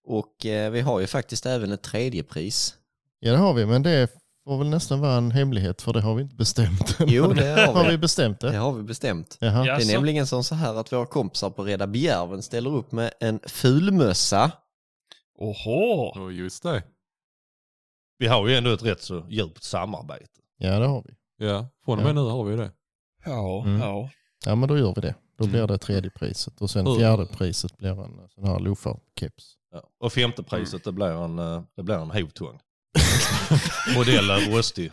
Och eh, vi har ju faktiskt även ett tredje <laughs> pris. Ja det har vi, men det får väl nästan vara en hemlighet för det har vi inte bestämt än. Jo, det har Har vi vi. bestämt Det det? har vi bestämt. Jaha. Det Jaså? är nämligen som så här att våra kompisar på Reda Bjärven ställer upp med en fulmössa. Oho! Och just det. Vi har ju ändå ett rätt så djupt samarbete. Ja det har vi. Ja, från och med nu har vi ju det. Ja, Mm. ja. Ja men då gör vi det. Då Mm. blir det tredje priset och sen Mm. fjärde priset blir en sån här loofar-keps. <laughs> Ja. Och femte priset, det blir en, eh, det blir en hovtång. Modell är rostig.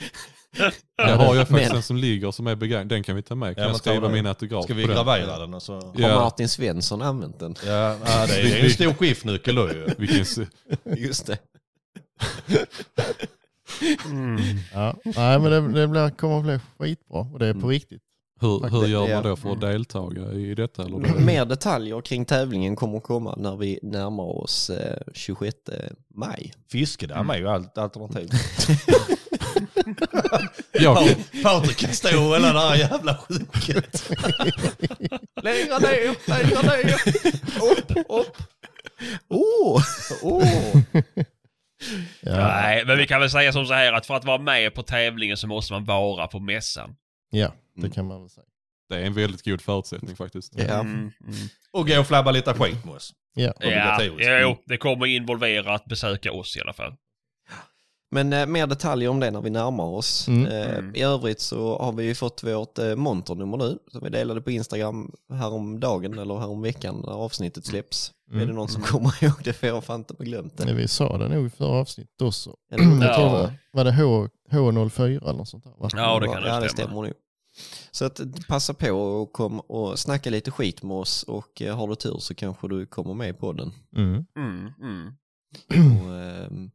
Jag har jag faktiskt Men- en som ligger som är begagnad. Den kan vi ta med. Kan Ja, jag men ta skriva den. min autograf Ska vi på den? gravera den och så? Har Ja. Martin Svensson använt den? Ja, ja det är en stor skiftnyckel då ju. Vilken s- <laughs> Just det. Ja. Nej, men det, det blir, kommer att bli skitbra och det är på Mm. riktigt. hur, hur Faktiskt, gör ja. man då för att deltaga i detta? Eller då? Mer detaljer kring tävlingen kommer komma när vi närmar oss eh, 26 maj. Fiskedamm är ju allt alternativ. Jag, Patrik kan stå och hela det här jävla sjuket. Längre ner, längre ner. <laughs> Upp, upp. Åh! Åh. Ja. Nej, men vi kan väl säga som så här att för att vara med på tävlingen så måste man vara på mässan. ja, Mm. det kan man väl säga. det är en väldigt god förutsättning faktiskt. Ja. Mm. Och gå och flabba lite skit med oss. Ja. Ja, Obligatoriskt. jo, det kommer involvera att besöka oss i alla fall. Men eh, mer detaljer om det när vi närmar oss. Mm. Eh, Mm. I övrigt så har vi ju fått vårt eh, monternummer nu som vi delade på Instagram häromdagen eller häromveckan när avsnittet släpps. Mm. Är det någon som kommer <laughs> ihåg det? För jag har fan inte glömt det. Nej, Vi sa det nog i förra avsnittet också. Eller- Jag tror Ja. det. Var det H, H04 eller något sånt där? Va? Ja, det kan ja, nog det stämma. stämmer nog. Så att eh, passa på och kom och snacka lite skit med oss och eh, har du tur så kanske du kommer med i <clears throat> podden. Mm. Mm. Mm. Och, ehm,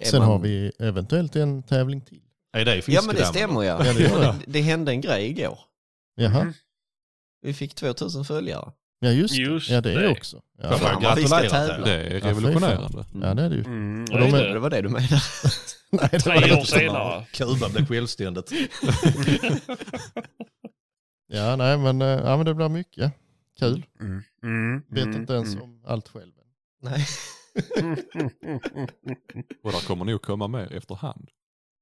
är Sen man- har vi eventuellt en tävling till. Är det Ja fiskedamm? men det stämmer ja. Ja, det gör det. <laughs> Det hände en grej igår. Jaha. Mm. Mhm. Vi fick 2000 följare. Ja, just det. Just ja, det är det. också. Ja. Fan, Fan, vad vi ska gratulerar tävla. till Det är revolutionerande. ja, det är det ju. Mm. Och de Det är Ja, det. Det var det du menade. <laughs> Nej, det Tre var år inte. senare. Kuba blev självständigt. Ja, nej, men, eh, ja, men det blir mycket kul. Mm. Mm. Vet Mm. inte ens Mm. om allt själv. Nej. Och där kommer nog komma mer efterhand.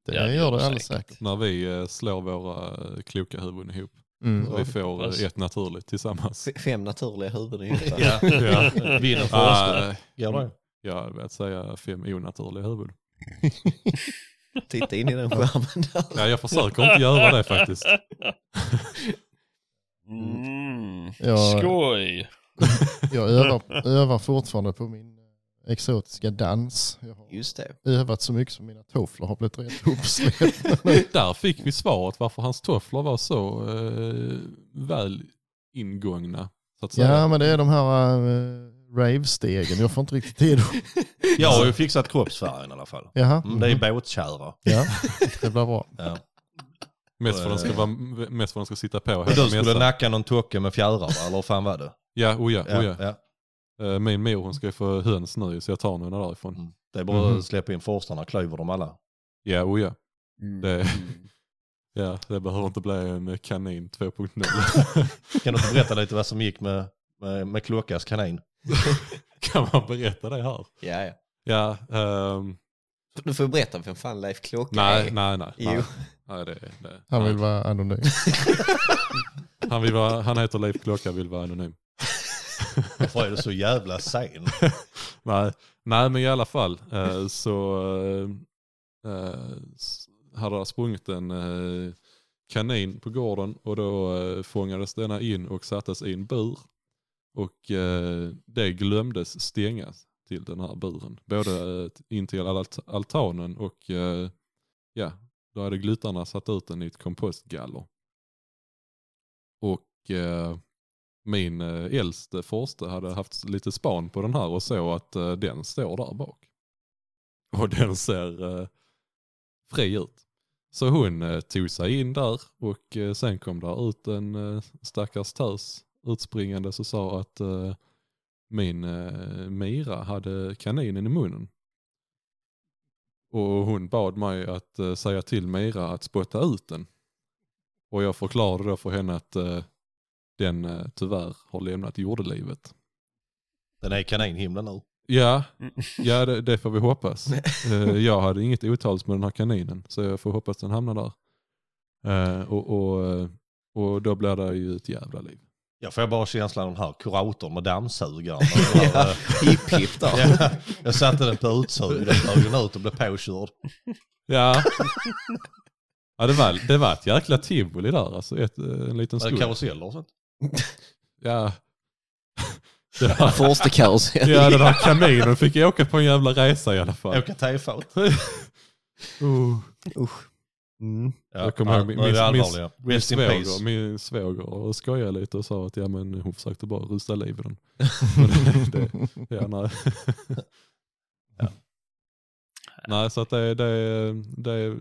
Det Ja, det gör gör det det alldeles säkert. säkert. När vi eh, slår våra eh, kloka huvuden ihop. Mm. Så vi får hoppas. eh, ett naturligt tillsammans. F- Fem naturliga <laughs> huvuden i ungefär. Ja. Ja. Vinner för oss. Ah, Gör det. Jag hade velat säga fem onaturliga huvuden. Titta in i den skärmen där. Ja, jag försöker inte <laughs> göra det faktiskt. Mm. Jag, eh, Skoj! jag övar, övar fortfarande på min eh, exotiska dans. Jag har Just det. övat så mycket som mina tofflor har blivit rent <laughs> uppsläppta. <laughs> Där fick vi svaret varför hans tofflor var så eh, väl ingångna. Så att säga. ja, men det är de här äh, rave-stegen. Jag får inte riktigt tid. att- Jag har ju fixat kroppsfärgen i alla fall. Jaha, Mm, det är båtkära. ja, det blir bra. Ja. mest, för den ska vara, mest för den ska sitta på här Eh. Men på du skulle mässan. nacka någon tocke med fjädrar va? eller hur fan var det? Ja, oh ja, Ja, oh ja. ja. Eh, Min mor hon ska ju få höns nu så jag tar några därifrån. Mm. Det är bara Mhm. att släppa in forstarna, klyver dem alla. Ja, oh ja. Mm. Det, <laughs> ja, det behöver inte bli en kanin 2.0. Kan du inte berätta lite vad som gick med, med, med Klockas kanin? <laughs> kan man berätta det här? Ja, ja. Ja, ehm, Du får berätta vem fan Leif Klocka nej, är. nej, nej. Jo. nej. nej det, det, Han vill nej. vara anonym. han, vill vara, han heter Leif Klocka vill vara anonym. Varför är du så jävla sen? Nej, nej men i alla fall eh, så eh, eh, s- hade det sprungit en eh, kanin på gården och då eh, fångades denna in och sattes i en bur. Och eh, det glömdes stängas till den här buren. Både eh, in till alt- altanen och eh, ja, då hade glutarna satt ut den i ett kompostgaller. Och eh, min eh, äldste förste hade haft lite span på den här och såg att eh, den står där bak. <laughs> Och den ser eh, fri ut. Så hon eh, tog sig in där och eh, sen kom där ut en eh, stackars tös utspringandes och sa att eh, min eh, Mira hade kaninen i munnen. Och hon bad mig att eh, säga till Mira att spotta ut den. Och jag förklarade då för henne att eh, den eh, tyvärr har lämnat jordelivet. Den är i kaninhimlen nu. Ja, Mm. ja det, det får vi hoppas. Eh, jag hade inget otals med den här kaninen så jag får hoppas den hamnar där. Eh, och, och, eh, och då blir det ju ett jävla liv. Jag får bara känslan av den här kuratorn med <laughs> dammsugaren. <laughs> eh, Ja. Hipp hipp där. Ja, jag satte den på utsug, den flög den ut och blev påkörd. Ja. ja det, var, det var ett jäkla tivoli där alltså. Ett, eh, en liten Var det stund. Karuseller och sånt. Ja. <laughs> Det var, Förstekarusell. ja den där kaninen fick åka på en jävla resa i alla fall. Åka tefat. Uh. Usch. Mm. Jag kommer ihåg nu min- är det min- allvarliga. Min Rest in peace. svåger, min svåger skojade lite och sa att ja, men hon försökte bara rusta liv i den. det- Ja, nej. ja. Nej, så att det, det, det,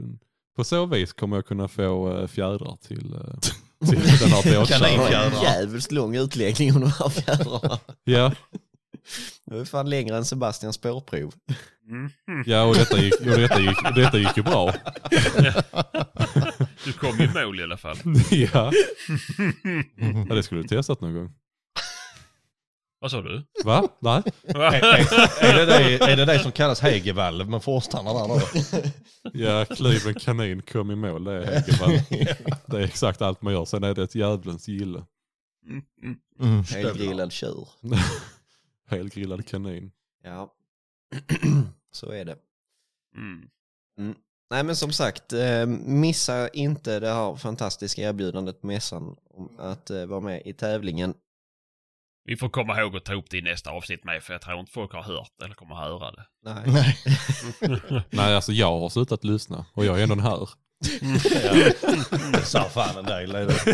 på så vis kommer jag kunna få eh, fjädrar till, eh, till den här Det Kaninfjädrar. båtkärran. var en jävligt lång utläggning om de här fjädrarna. Ja, Det var fan längre än Sebastians spårprov. Mm. ja och, detta gick, och detta, gick, detta gick ju bra. <laughs> Du kom i mål i alla fall. Ja. ja, det skulle du testat någon gång. Vad sa du? Va? Nej? Är det det, är det det som kallas hegevalv med forstarna där då? Ja, klyv en kanin, kom i mål. Det är, Hegevalv. det är exakt allt man gör. Sen är det ett djävulens gille. <laughs> <laughs> Mm. Helgrillad tjur. Helgrillad kanin. Ja. <clears throat> Så är det. Mm. Nej men som sagt, eh, missa inte det här fantastiska erbjudandet på mässan om att eh, vara med i tävlingen. Vi får komma ihåg att ta upp det i nästa avsnitt med, för jag tror inte folk har hört eller kommer <laughs> höra det. Nej. Nej. Nej, alltså jag har slutat lyssna och jag är ändå här. Det <laughs> sa fan en del. <laughs> är det.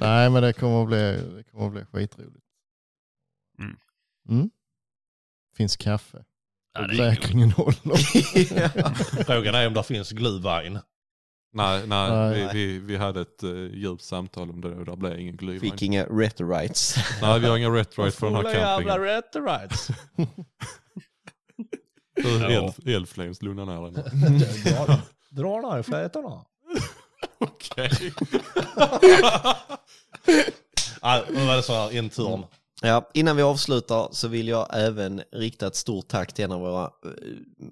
<laughs> Nej, men det kommer att bli, det kommer att bli skitroligt. Mm. Mm. Finns kaffe. <laughs> Ja, det är <laughs> Räkningen håller. Frågan är om det finns glühwein. Nej, nej, Nej. Vi, vi, vi hade ett uh, djupt samtal om det och där blev ingen glöm. Fick inga retorites. Nej, vi har inga retroid från den här campingen. rätt right. Hur Ja. elf- Elflames lugna ner henne. Dra ner flätorna. Okej. Ja, Ah, Nu var det så här intern. <laughs> Ja, innan vi avslutar så vill jag även rikta ett stort tack till en av våra eh,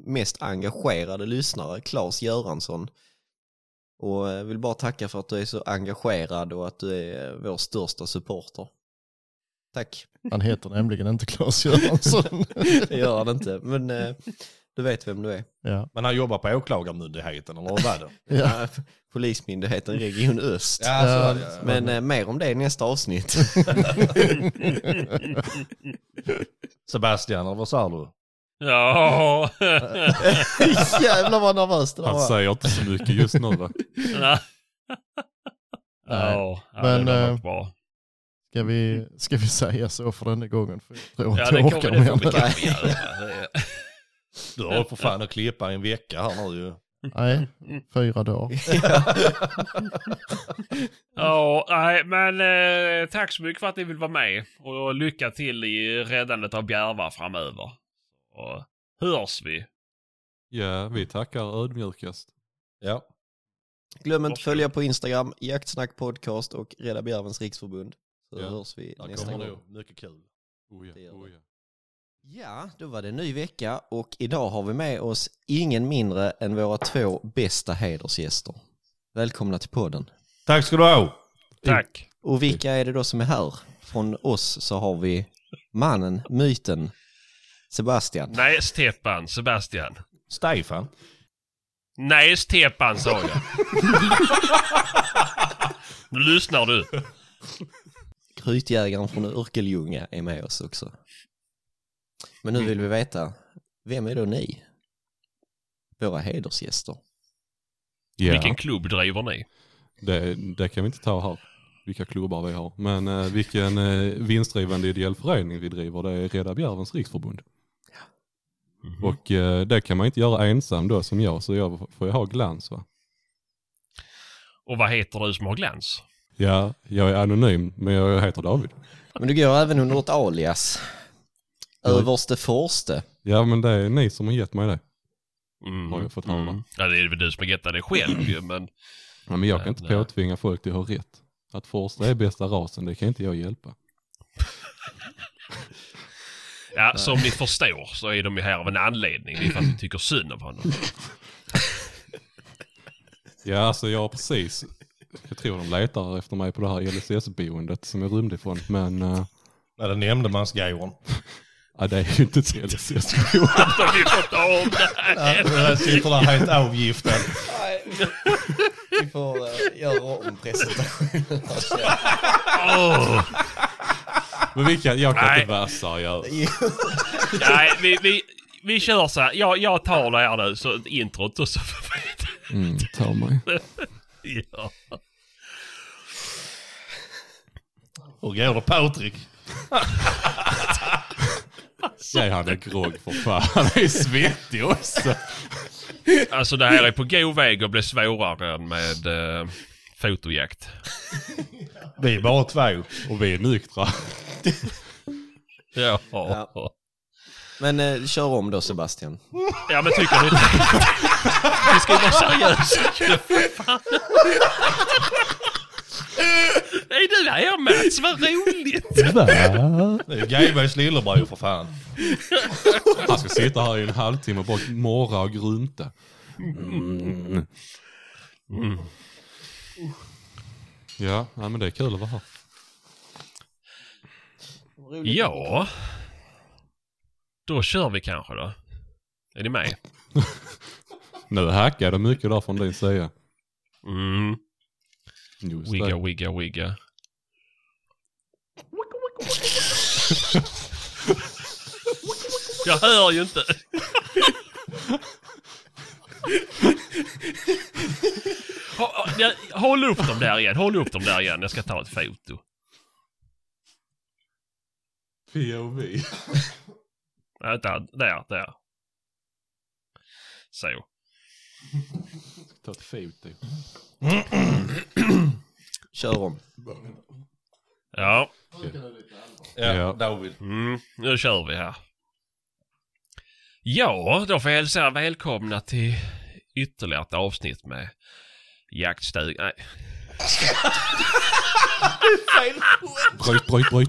mest engagerade lyssnare, Claes Göransson. Och jag vill bara tacka för att du är så engagerad och att du är eh, vår största supporter. Tack. Han heter nämligen inte <laughs> Claes Göransson. <laughs> Det gör han inte, men eh, du vet vem du är. ja. Men han jobbar på åklagarmyndigheten eller vad var det? Ja. Eh, Polismyndigheten Region Öst. Ja, så var det. ja. Men eh, mer om det i nästa avsnitt. Sebastian, eller vad sa du? Ja. <laughs> <laughs> Jävlar vad nervös det där Han var. säger inte så mycket just nu va? Ja. Ja, Men, det var eh, inte bra. Ska, vi, ska vi säga så för denna gången? För jag tror Ja, inte det jag kommer orkar det får vi mer. kanske <laughs> göra. Det är- Du har ju för fan att klippa i en vecka här nu ju. Nej, Mm. fyra dagar. Ja, nej, men eh, tack så mycket för att ni vill vara med och lycka till i räddandet av bjärvar framöver. Och hörs vi? Ja, vi tackar ödmjukast. Ja. Glöm inte att följa på Instagram, Jaktsnack Podcast och Rädda Bjärvens Riksförbund. Så Ja. hörs vi Där nästa kommer gång. det. Mycket kul. Oh Det ja, gör oh ja. Ja, då var det en ny vecka och idag har vi med oss ingen mindre än våra två bästa hedersgäster. Välkomna till podden. Tack ska du ha. Tack. Och vilka är det då som är här? Från oss så har vi mannen, myten, Sebastian. Nej, Stefan, Sebastian. Stefan. Nej, Stefan sa jag. Nu lyssnar du. Krytjägaren från Örkeljunga är med oss också. Men nu vill vi veta, vem är då ni? Våra hedersgäster. Vilken Ja, klubb driver ni? det, det kan vi inte ta här. Vilka klubbar vi har. Men eh, vilken eh, vinstdrivande ideell förening vi driver, det är Rädda Bjärvens Riksförbund. Och eh, det kan man inte göra ensam då som jag, så jag får ju ha glans va? Och vad heter du som har glans? Ja, jag är anonym, men jag heter David. Men du går även under ett alias. Överste Forste. Ja, men det är ni som har gett mig det. Mm. Har jag fått höra. Ja, det är väl du som har gett det själv ju, men... Ja, men jag kan Nej, inte nej. påtvinga folk till att ha rätt. Att Forster är bästa rasen, det kan inte jag hjälpa. Ja, som ni förstår så är de ju här av en anledning. Det är för att vi tycker synd om <laughs> honom. Ja, alltså jag har precis, jag tror de letar efter mig på det här LSS-boendet som jag rymde ifrån, men eh, Är det nämndemansgrejen? <laughs> ja, det är ju inte ett LSS-boende. Då har vi fått av det här. Den sitter där helt avgiftad. Vi får uh, göra om presentationen. Åh. Men vi kan, jag kan Nej. inte vara seriös. Nej, vi, vi, vi kör så här. Jag, jag tar det här nu, så introt och så. Mm, ta mig. ja. Och går det <laughs> Patrik? Ge han en grogg för fan. Han är ju svettig också. Alltså det här är på god väg att bli svårare än med eh, fotojakt. Vi är bara två. Och vi är nyktra. Ja. Ja. Men eh, kör om då <laughs> Sebastian. Ja men tycker du inte? Vi ska ju vara seriösa. För fan. Är du här Mats? Vad roligt! Det är Gaibergs lillebror för fan. Han ska sitta här i en halvtimme och bara morra och grymta. Mm. Ja, nej, men det är kul att vara här. Ja. Då kör vi kanske då. Är ni med? Nu hackar det mycket där från din sida. Mm. Just Wigga, det. wigga, wigga. Jag hör ju inte. Hå- hå- ja, Håll upp dem där igen, håll upp dem där igen. Jag ska ta ett foto. POV. Vänta, där, där. Så. Ta ett foto. Kör om. Ja, Ja, Ja. David. mm, nu kör vi här. Ja, då får jag hälsa er välkomna till ytterligare ett avsnitt med jaktstugan. Nej, Bryt, bryt, bryt.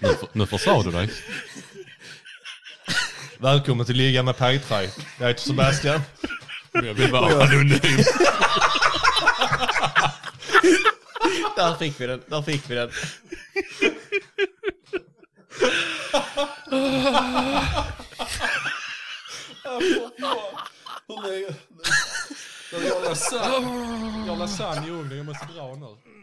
Nu, för- nu försade du dig. Välkommen till Liga med Pajtraj. Jag heter Sebastian. Jag vill vara anonym. Där fick vi den, där fick vi den. Jag har lasagne i ugnen, jag måste dra nu.